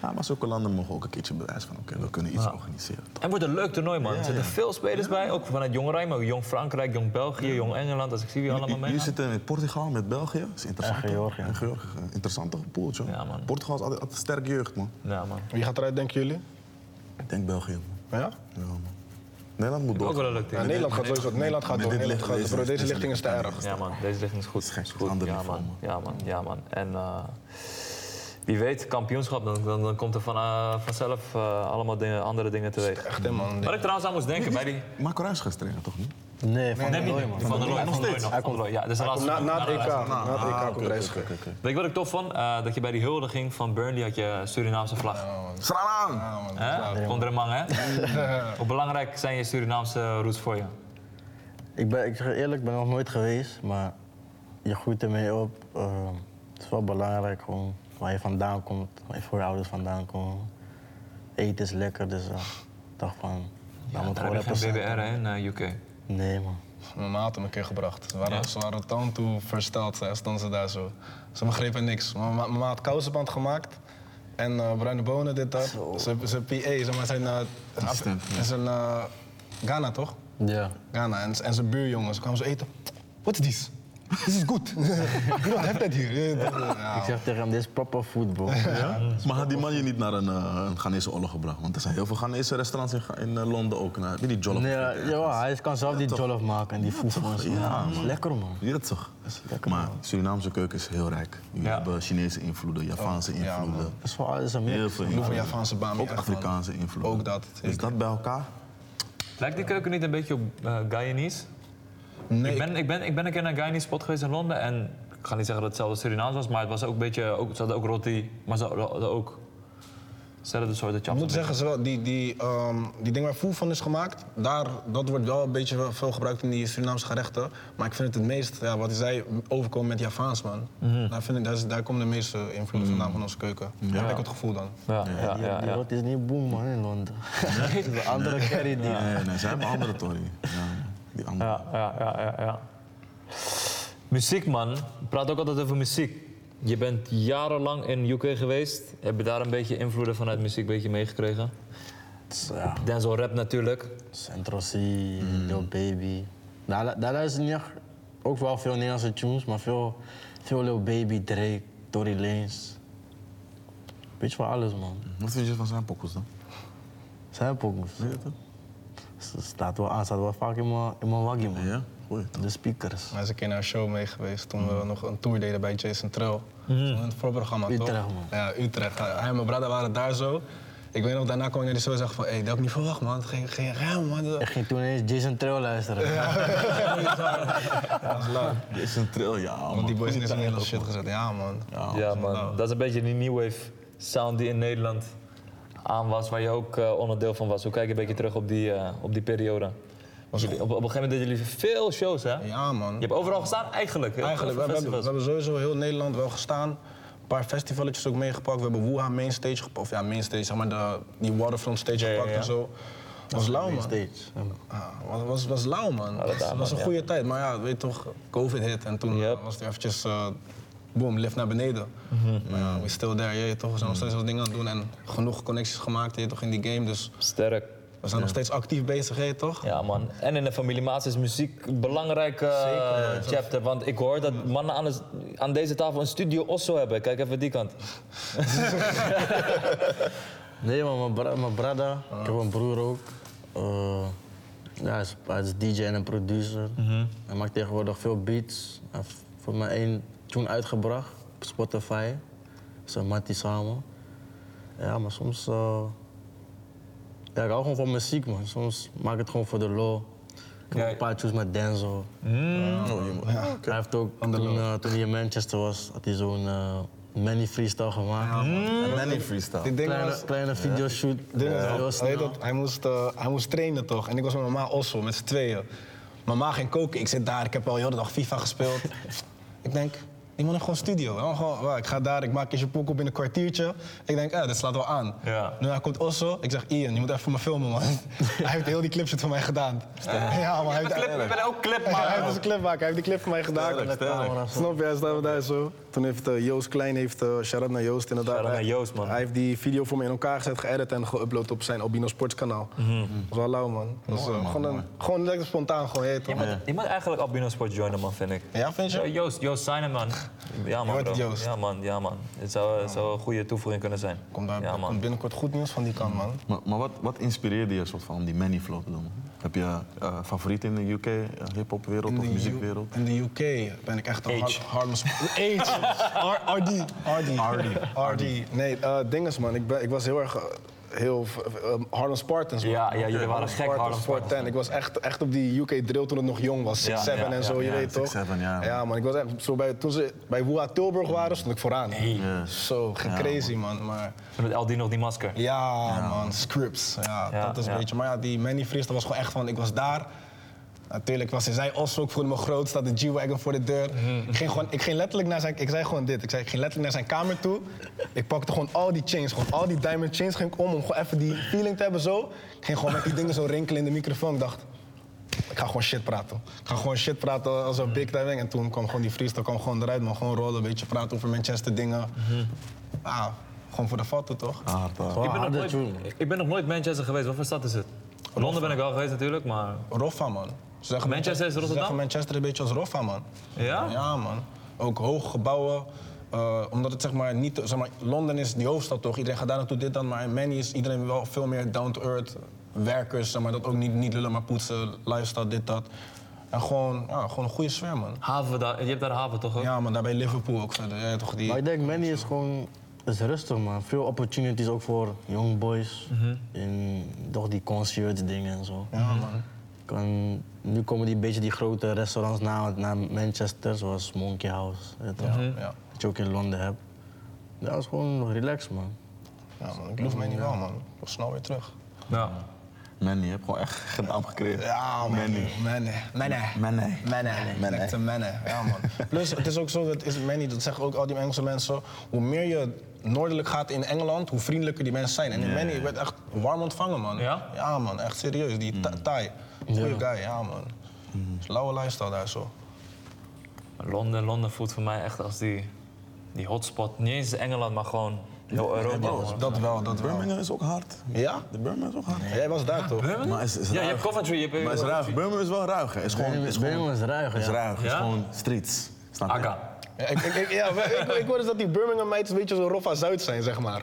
[SPEAKER 3] Ja, maar zulke landen mogen ook een keertje bewijzen van, oké, we kunnen iets organiseren.
[SPEAKER 2] En wordt een leuk toernooi, man. Er zitten veel spelers bij, ook vanuit jong Rijn, maar ook jong Frankrijk, jong België, jong Engeland. Als ik zie wie allemaal mee.
[SPEAKER 3] Jullie zitten met Portugal, met België. Dat is interessant.
[SPEAKER 1] En Georgië.
[SPEAKER 3] En Georgië. Interessante pool, joh.
[SPEAKER 2] Ja, man.
[SPEAKER 3] Portugal is altijd, altijd een sterke jeugd, man.
[SPEAKER 2] Ja, man.
[SPEAKER 4] Wie gaat eruit, denken jullie?
[SPEAKER 3] Ik denk België, man.
[SPEAKER 4] Ja?
[SPEAKER 3] Ja, man. Nederland moet door.
[SPEAKER 2] Ook wel een leuk
[SPEAKER 4] Ja,
[SPEAKER 2] team.
[SPEAKER 4] Nederland gaat sowieso. Nederland gaat
[SPEAKER 3] met
[SPEAKER 4] door.
[SPEAKER 3] dit
[SPEAKER 4] Nederland
[SPEAKER 3] licht-
[SPEAKER 4] gaat door.
[SPEAKER 3] deze-
[SPEAKER 4] Deze
[SPEAKER 3] deze
[SPEAKER 4] lichting is te erg.
[SPEAKER 2] Ja, man. Deze richting is goed.
[SPEAKER 3] is gek,
[SPEAKER 2] Is goed.
[SPEAKER 3] ander
[SPEAKER 2] Ja,
[SPEAKER 3] niveau,
[SPEAKER 2] man.
[SPEAKER 3] man.
[SPEAKER 2] Ja, man. Ja, man. En eh, wie weet, kampioenschap, dan, dan, dan komt er van, eh, vanzelf eh, allemaal dingen, andere dingen teweeg.
[SPEAKER 4] Echt, hè, man.
[SPEAKER 2] Wat ik trouwens aan moest denken bij die...
[SPEAKER 3] Marco Ruijs gaat trainen, toch niet?
[SPEAKER 1] Nee, van
[SPEAKER 2] Nee,
[SPEAKER 1] nee,
[SPEAKER 2] niet-
[SPEAKER 1] Roy, man.
[SPEAKER 2] Van der Looy,
[SPEAKER 3] Nog
[SPEAKER 2] Van der Looy
[SPEAKER 3] steeds?
[SPEAKER 2] nog. Van der Looy, ja. Dat is de laatste. Ah,
[SPEAKER 4] Na, na het EK. Na het EK komt
[SPEAKER 3] oké,
[SPEAKER 4] Reis.
[SPEAKER 3] oké, oké.
[SPEAKER 2] Weet je wat ik tof vond? Eh, dat je bij die huldiging van Burnley had je Surinaamse vlag.
[SPEAKER 3] Slaan aan!
[SPEAKER 2] hè? Onder de man, hè? Hoe belangrijk zijn je Surinaamse roots voor je?
[SPEAKER 1] Ik ben, ik zeg eerlijk, ik ben nog nooit geweest, maar je groeit ermee op. Eh, het is wel belangrijk gewoon waar je vandaan komt, waar je voorouders vandaan komen. Eten is lekker, dus eh, ik dacht van,
[SPEAKER 2] Ja,
[SPEAKER 1] daar moet
[SPEAKER 2] daar heb
[SPEAKER 1] gewoon
[SPEAKER 2] je
[SPEAKER 1] even
[SPEAKER 2] geen
[SPEAKER 1] zijn.
[SPEAKER 2] BBR hè, in eh, UK.
[SPEAKER 1] Nee man,
[SPEAKER 4] Mijn maat had hem een keer gebracht. Ze waren, ze waren toon toe versteld, hè, stonden ze daar zo. Ze begrepen niks. Mijn ma- mijn maat had kousenband gemaakt. En eh, bruine bonen, dit, dat. Zijn- Zijn PA, zeg maar, zijn... eh, Af-
[SPEAKER 3] Assistent, ja.
[SPEAKER 4] Zijn eh, Ghana, toch?
[SPEAKER 1] ja.
[SPEAKER 4] Ghana. En, en zijn buurjongens kwamen ze eten. What is this? This is good. you don't have that here. Ja,
[SPEAKER 1] Ik zeg tegen hem, dit is proper voetbal.
[SPEAKER 3] Maar had die man je niet naar een, eh, een Ghanese oorlog gebracht? Want er zijn heel veel Ghanese restaurants in, Ga- in eh, Londen ook. Nou, heb je die jollof?
[SPEAKER 1] nee, ja, ja, hij kan zelf die jollof maken en die voetbal. en zo.
[SPEAKER 3] Ja,
[SPEAKER 1] Dat is
[SPEAKER 3] man.
[SPEAKER 1] lekker man.
[SPEAKER 3] Ja, toch? Maar Surinaamse keuken is heel rijk. Jullie
[SPEAKER 2] Ja.
[SPEAKER 3] hebben Chinese invloeden, Javaanse invloeden.
[SPEAKER 1] Dat is wel alles een mix.
[SPEAKER 3] Oh, heel veel invloeden.
[SPEAKER 4] Hoeveel Javaanse baan
[SPEAKER 3] Ook Afrikaanse invloeden.
[SPEAKER 4] Ook dat,
[SPEAKER 3] Is
[SPEAKER 4] zeker.
[SPEAKER 3] dat bij elkaar?
[SPEAKER 2] Lijkt die keuken niet een beetje op eh Guyanese?
[SPEAKER 4] Nee,
[SPEAKER 2] Ik ben, ik, ben, ik ben een keer naar een Guyanese spot geweest in Londen en ik ga niet zeggen dat het hetzelfde Surinaams was, maar het was ook een beetje, ook, ze hadden ook roti, maar ze hadden ook hetzelfde soorten
[SPEAKER 4] Ik
[SPEAKER 2] chaps.
[SPEAKER 4] moet zeggen, ze wel, die, die, ehm, die ding waar voer van is gemaakt, daar, dat wordt wel een beetje wel veel gebruikt in die Surinaamse gerechten. Maar ik vind het het meest, ja, wat zij overkomen met Javaans, man. Daar, vind ik, daar, is- daar komen de meeste invloeden vandaan van onze keuken. Daar heb ik het gevoel dan.
[SPEAKER 2] Ja, ja,
[SPEAKER 1] Die,
[SPEAKER 2] ja,
[SPEAKER 1] die
[SPEAKER 2] ja.
[SPEAKER 1] rot is niet boem man in Londen. Het is een andere curry die.
[SPEAKER 3] Nee, nee, zij hebben andere Tory. Ja, die andere.
[SPEAKER 2] Ja, ja, ja, ja, ja. Muziek, man. Ik praat ook altijd over muziek. Je bent jarenlang in UK geweest. Heb je daar een beetje invloeden vanuit muziek een beetje meegekregen?
[SPEAKER 1] Het is, ja.
[SPEAKER 2] Denzel rap natuurlijk.
[SPEAKER 1] Centro C,
[SPEAKER 3] Mm.
[SPEAKER 1] Lil Baby. Daar, daar luister ik niet echt- ook wel veel Nederlandse tunes, maar veel, veel Lil Baby, Drake, Tory Lanez. Beetje van alles, man.
[SPEAKER 3] Wat vind je van zijn pokkels dan?
[SPEAKER 1] Zijn pokoes.
[SPEAKER 3] toch?
[SPEAKER 1] Ze Staat wel aan, staat wel vaak in mijn, in mijn waggie, man.
[SPEAKER 3] Ja, goeie.
[SPEAKER 1] De speakers.
[SPEAKER 4] Hij is een keer naar een show mee geweest toen we nog een tour deden bij Jason Trill. In het voorprogramma, toch?
[SPEAKER 1] Utrecht, man.
[SPEAKER 4] Ja, Utrecht. Hij hij en mijn brother waren daar zo. Ik weet nog, daarna kwam ik naar die show en zag van, hé, hey, dat had ik niet verwacht, man. Het ging, ging ruim, man.
[SPEAKER 1] Ik ging toen ineens Jason Trail luisteren.
[SPEAKER 4] Dat is leuk.
[SPEAKER 3] Dit is een trail, ja. man.
[SPEAKER 4] Want die boys zijn heel shit gezet. Ja, man.
[SPEAKER 2] ja,
[SPEAKER 4] Oh.
[SPEAKER 2] man. Dat is een beetje die new wave sound die in Nederland aan was, waar je ook eh, onderdeel van was. Hoe kijk je een beetje terug op die, eh, op die periode? Jullie- op, op een gegeven moment deden jullie veel shows, hè?
[SPEAKER 4] Ja, man.
[SPEAKER 2] Je hebt overal gestaan, eigenlijk.
[SPEAKER 4] Eigenlijk, we, we hebben, we hebben sowieso heel Nederland wel gestaan. Een paar festivaletjes ook meegepakt. We hebben Wuha Mainstage gepakt. Of ja, Mainstage, zeg maar de, die Waterfront Stage
[SPEAKER 2] ja,
[SPEAKER 4] gepakt
[SPEAKER 2] ja.
[SPEAKER 4] en zo. Was lauw, man.
[SPEAKER 1] Steeds.
[SPEAKER 4] Ah, was, was, was lauw, man.
[SPEAKER 2] dat
[SPEAKER 4] was,
[SPEAKER 2] daar, man,
[SPEAKER 4] was een
[SPEAKER 2] ja.
[SPEAKER 4] goede tijd. Maar ja, weet je toch, COVID hit. En toen
[SPEAKER 2] Yep. Mhm.
[SPEAKER 4] was het eventjes eh, boom, lift naar beneden. Maar ja, we still there, je, toch. We zijn nog steeds wat dingen aan het doen en genoeg connecties gemaakt, je, toch, in die game. Dus
[SPEAKER 2] Sterk.
[SPEAKER 4] we zijn nog steeds actief bezig, je, toch.
[SPEAKER 2] Ja, man. En in de familiemaat is muziek een belangrijk eh, chapter. Want ik hoor dat mannen aan, de- aan deze tafel een studio Osso hebben. Kijk even die kant.
[SPEAKER 1] Nee, maar mijn, bra mijn brada, ik heb een broer ook. Eh, ja, hij, is, hij is DJ en een producer. Hij maakt tegenwoordig veel beats. Hij heeft voor mij één tune uitgebracht op Spotify. Zijn Matty samen. Ja, maar soms. eh, ja, ik hou gewoon van muziek, man. Soms maak ik het gewoon voor de lol. Ik heb
[SPEAKER 2] Ja.
[SPEAKER 1] een paar tunes met Denzel. Hij heeft ook, toen, eh, toen hij in Manchester was, had hij zo'n eh, Manny freestyle gemaakt.
[SPEAKER 3] Many freestyle.
[SPEAKER 4] Dit ding
[SPEAKER 1] Kleine,
[SPEAKER 4] was...
[SPEAKER 1] kleine videoshoot.
[SPEAKER 4] Dit was-
[SPEAKER 1] Ja. Heel
[SPEAKER 4] weet
[SPEAKER 1] snel.
[SPEAKER 4] dat, hij, moest, eh, hij moest trainen toch? En ik was met mama Ossel, met z'n tweeën. Mama ging koken, ik zit daar, ik heb al heel de dag FIFA gespeeld. ik denk, die man heeft gewoon studio. Hij gewoon, "Wauw, ik ga daar, ik maak eens je poek op in een kwartiertje. Ik denk, eh, dit slaat wel aan.
[SPEAKER 2] Ja.
[SPEAKER 4] Nu hij komt Ossel, ik zeg, Ian, je moet even voor me filmen man. hij heeft heel die clipshit voor mij gedaan. Ja, maar hij heeft...
[SPEAKER 2] ik ben ook clip
[SPEAKER 4] Ja, hij heeft dus een clip maken, hij heeft die clip voor mij gedaan. Snap je, hij staat daar zo. Toen heeft eh, Joost Klein, heeft, eh shout-out naar Joost inderdaad.
[SPEAKER 2] Shout-out naar
[SPEAKER 4] Hij-
[SPEAKER 2] Joost, man.
[SPEAKER 4] Hij heeft die video voor me in elkaar gezet, geëdit en geüpload op zijn Albino Sports kanaal.
[SPEAKER 2] Mhm.
[SPEAKER 4] Dat was wel lauw, man. Dat was, eh, gewoon, een, gewoon lekker spontaan, gewoon, je weet toch?
[SPEAKER 2] Je moet eigenlijk Albino Sport joinen, man, vind ik.
[SPEAKER 4] Ja, vind je?
[SPEAKER 2] Ja, Joost, Joost, sign hem, man. Ja, man,
[SPEAKER 4] hoort
[SPEAKER 2] bro.
[SPEAKER 4] het, Joost.
[SPEAKER 2] Ja, man, ja, man. Het zou, het zou een goede toevoeging kunnen zijn.
[SPEAKER 4] Komt daar
[SPEAKER 2] ja,
[SPEAKER 4] komt
[SPEAKER 2] man.
[SPEAKER 4] binnenkort goed nieuws van die kant, man.
[SPEAKER 3] Maar, maar wat, wat inspireerde je soort van om die many flow te doen? Heb je eh favorieten in de UK, eh, hip-hop-wereld of
[SPEAKER 4] In de
[SPEAKER 3] muziekwereld?
[SPEAKER 4] U- In de UK ben ik echt een
[SPEAKER 2] Age.
[SPEAKER 4] hard- harde sp- Age. R- RD. RD. RD. Nee, eh ding is man, ik, ben, ik was heel erg eh, heel v- v- eh, Harlem Spartans. man.
[SPEAKER 2] Ja, ja, jullie waren gek Harlem Spartans.
[SPEAKER 4] 410. Ik was echt, echt op die UK drill toen het nog jong was. 6-7
[SPEAKER 2] Ja, ja,
[SPEAKER 4] en zo,
[SPEAKER 2] ja,
[SPEAKER 4] je
[SPEAKER 2] ja,
[SPEAKER 4] weet toch?
[SPEAKER 3] 6'7", ja, man.
[SPEAKER 4] ja, man. Ik was echt, zo bij, toen ze bij Woeha Tilburg waren, stond ik vooraan. Zo, ging crazy man. Maar
[SPEAKER 2] Toen had LD nog die masker.
[SPEAKER 4] ja, man, scripts. Ja,
[SPEAKER 2] Ja,
[SPEAKER 4] dat is
[SPEAKER 2] ja.
[SPEAKER 4] een beetje. Maar ja, die Manny Fries, dat was gewoon echt van, ik was daar. Natuurlijk was hij, zei Oslo, ik voelde me groot, staat de G-Wagon voor de deur. Ik, ging gewoon, ik ging letterlijk naar zijn, ik zei gewoon dit, ik, zei, ik ging letterlijk naar zijn kamer toe. Ik pakte gewoon al die chains, gewoon al die diamond chains ging ik om, om gewoon even die feeling te hebben zo. Ik ging gewoon met die dingen zo rinkelen in de microfoon, ik dacht, ik ga gewoon shit praten. Ik ga gewoon shit praten als een big timing. En toen kwam gewoon die freestyle kwam gewoon eruit, man. Gewoon rollen, een beetje praten over Manchester dingen. Ah, gewoon voor de foto, toch?
[SPEAKER 3] Hard, eh.
[SPEAKER 1] Gewoon
[SPEAKER 2] Ik ben, nog
[SPEAKER 1] harde
[SPEAKER 2] nooit,
[SPEAKER 1] tune.
[SPEAKER 2] ik ben nog nooit Manchester geweest. Wat voor stad is het? Londen ben ik wel geweest natuurlijk, maar...
[SPEAKER 4] Roffa, man. Ze zeggen
[SPEAKER 2] Manchester is
[SPEAKER 4] ze
[SPEAKER 2] Rotterdam?
[SPEAKER 4] zeggen Manchester een beetje als Roffa, man.
[SPEAKER 2] Ja?
[SPEAKER 4] Ja, man. Ook hoge gebouwen. eh, omdat het zeg maar niet, zeg maar, Londen is die hoofdstad toch? Iedereen gaat daar naartoe dit dan, maar in Manny is iedereen wel veel meer down to earth. Werkers, zeg maar, dat ook niet, niet lullen, maar poetsen, lifestyle, dit, dat. En gewoon, ja, gewoon een goede sfeer, man.
[SPEAKER 2] Haven daar, je hebt daar haven toch ook?
[SPEAKER 4] Ja, man, daar bij Liverpool ook verder. Ja, toch die...
[SPEAKER 1] Maar ik denk, Manny is gewoon is rustig, man. Veel opportunities ook voor young boys. In toch die concert dingen en zo.
[SPEAKER 4] Ja, man.
[SPEAKER 1] Kan, nu komen die beetje die grote restaurants na, naar Manchester, zoals Monkey House. weet je toch?
[SPEAKER 2] Hm?
[SPEAKER 4] Ja,
[SPEAKER 1] Dat je ook in Londen hebt. Ja, dat is gewoon relaxed, man.
[SPEAKER 4] ja man. Ik geloof mij niet wel, man. Ik was snel weer terug.
[SPEAKER 2] Ja.
[SPEAKER 3] Many, je hebt gewoon echt gedaan gekregen.
[SPEAKER 4] Ja, man.
[SPEAKER 3] Manny.
[SPEAKER 4] Manny. Manny.
[SPEAKER 3] Manny.
[SPEAKER 4] Manny.
[SPEAKER 3] Manny.
[SPEAKER 4] Echte Manny. Ja, man. Plus, het is ook zo, dat is Manny, dat zeggen ook al die Engelse mensen. Hoe meer je noordelijk gaat in Engeland, hoe vriendelijker die mensen zijn. En in Manny werd echt warm ontvangen, man.
[SPEAKER 2] Ja?
[SPEAKER 4] Ja, man. Echt serieus. Die Tha- Thai. Goeie guy, ja, Mm. man. Het is een lauwe lifestyle daar zo.
[SPEAKER 2] Londen, Londen voelt voor mij echt als die, die hotspot. Niet eens Engeland, maar gewoon heel Europa. man.
[SPEAKER 4] Dat wel, dat wel.
[SPEAKER 3] Birmingham is ook hard.
[SPEAKER 4] Ja?
[SPEAKER 3] De Birmingham is ook hard.
[SPEAKER 4] Jij was daar toch?
[SPEAKER 2] Birmingham?
[SPEAKER 3] Maar is- is
[SPEAKER 2] ja, je
[SPEAKER 3] ruig.
[SPEAKER 2] hebt Coventry. Je hebt
[SPEAKER 3] Maar het is ruig. Birmingham is wel ruig. hè. Het is gewoon,
[SPEAKER 1] Birmingham
[SPEAKER 3] is
[SPEAKER 1] Birmingham
[SPEAKER 3] gewoon,
[SPEAKER 1] is ruig,
[SPEAKER 3] is
[SPEAKER 1] ja.
[SPEAKER 3] ruig. Het is
[SPEAKER 2] Ja?
[SPEAKER 3] gewoon streets. Snap je?
[SPEAKER 2] Aga.
[SPEAKER 4] Ja, ik, ik, ik, ja, maar ik, ik hoor dus dat die Birmingham meiden een beetje zo rof aan Zuid zijn, zeg maar.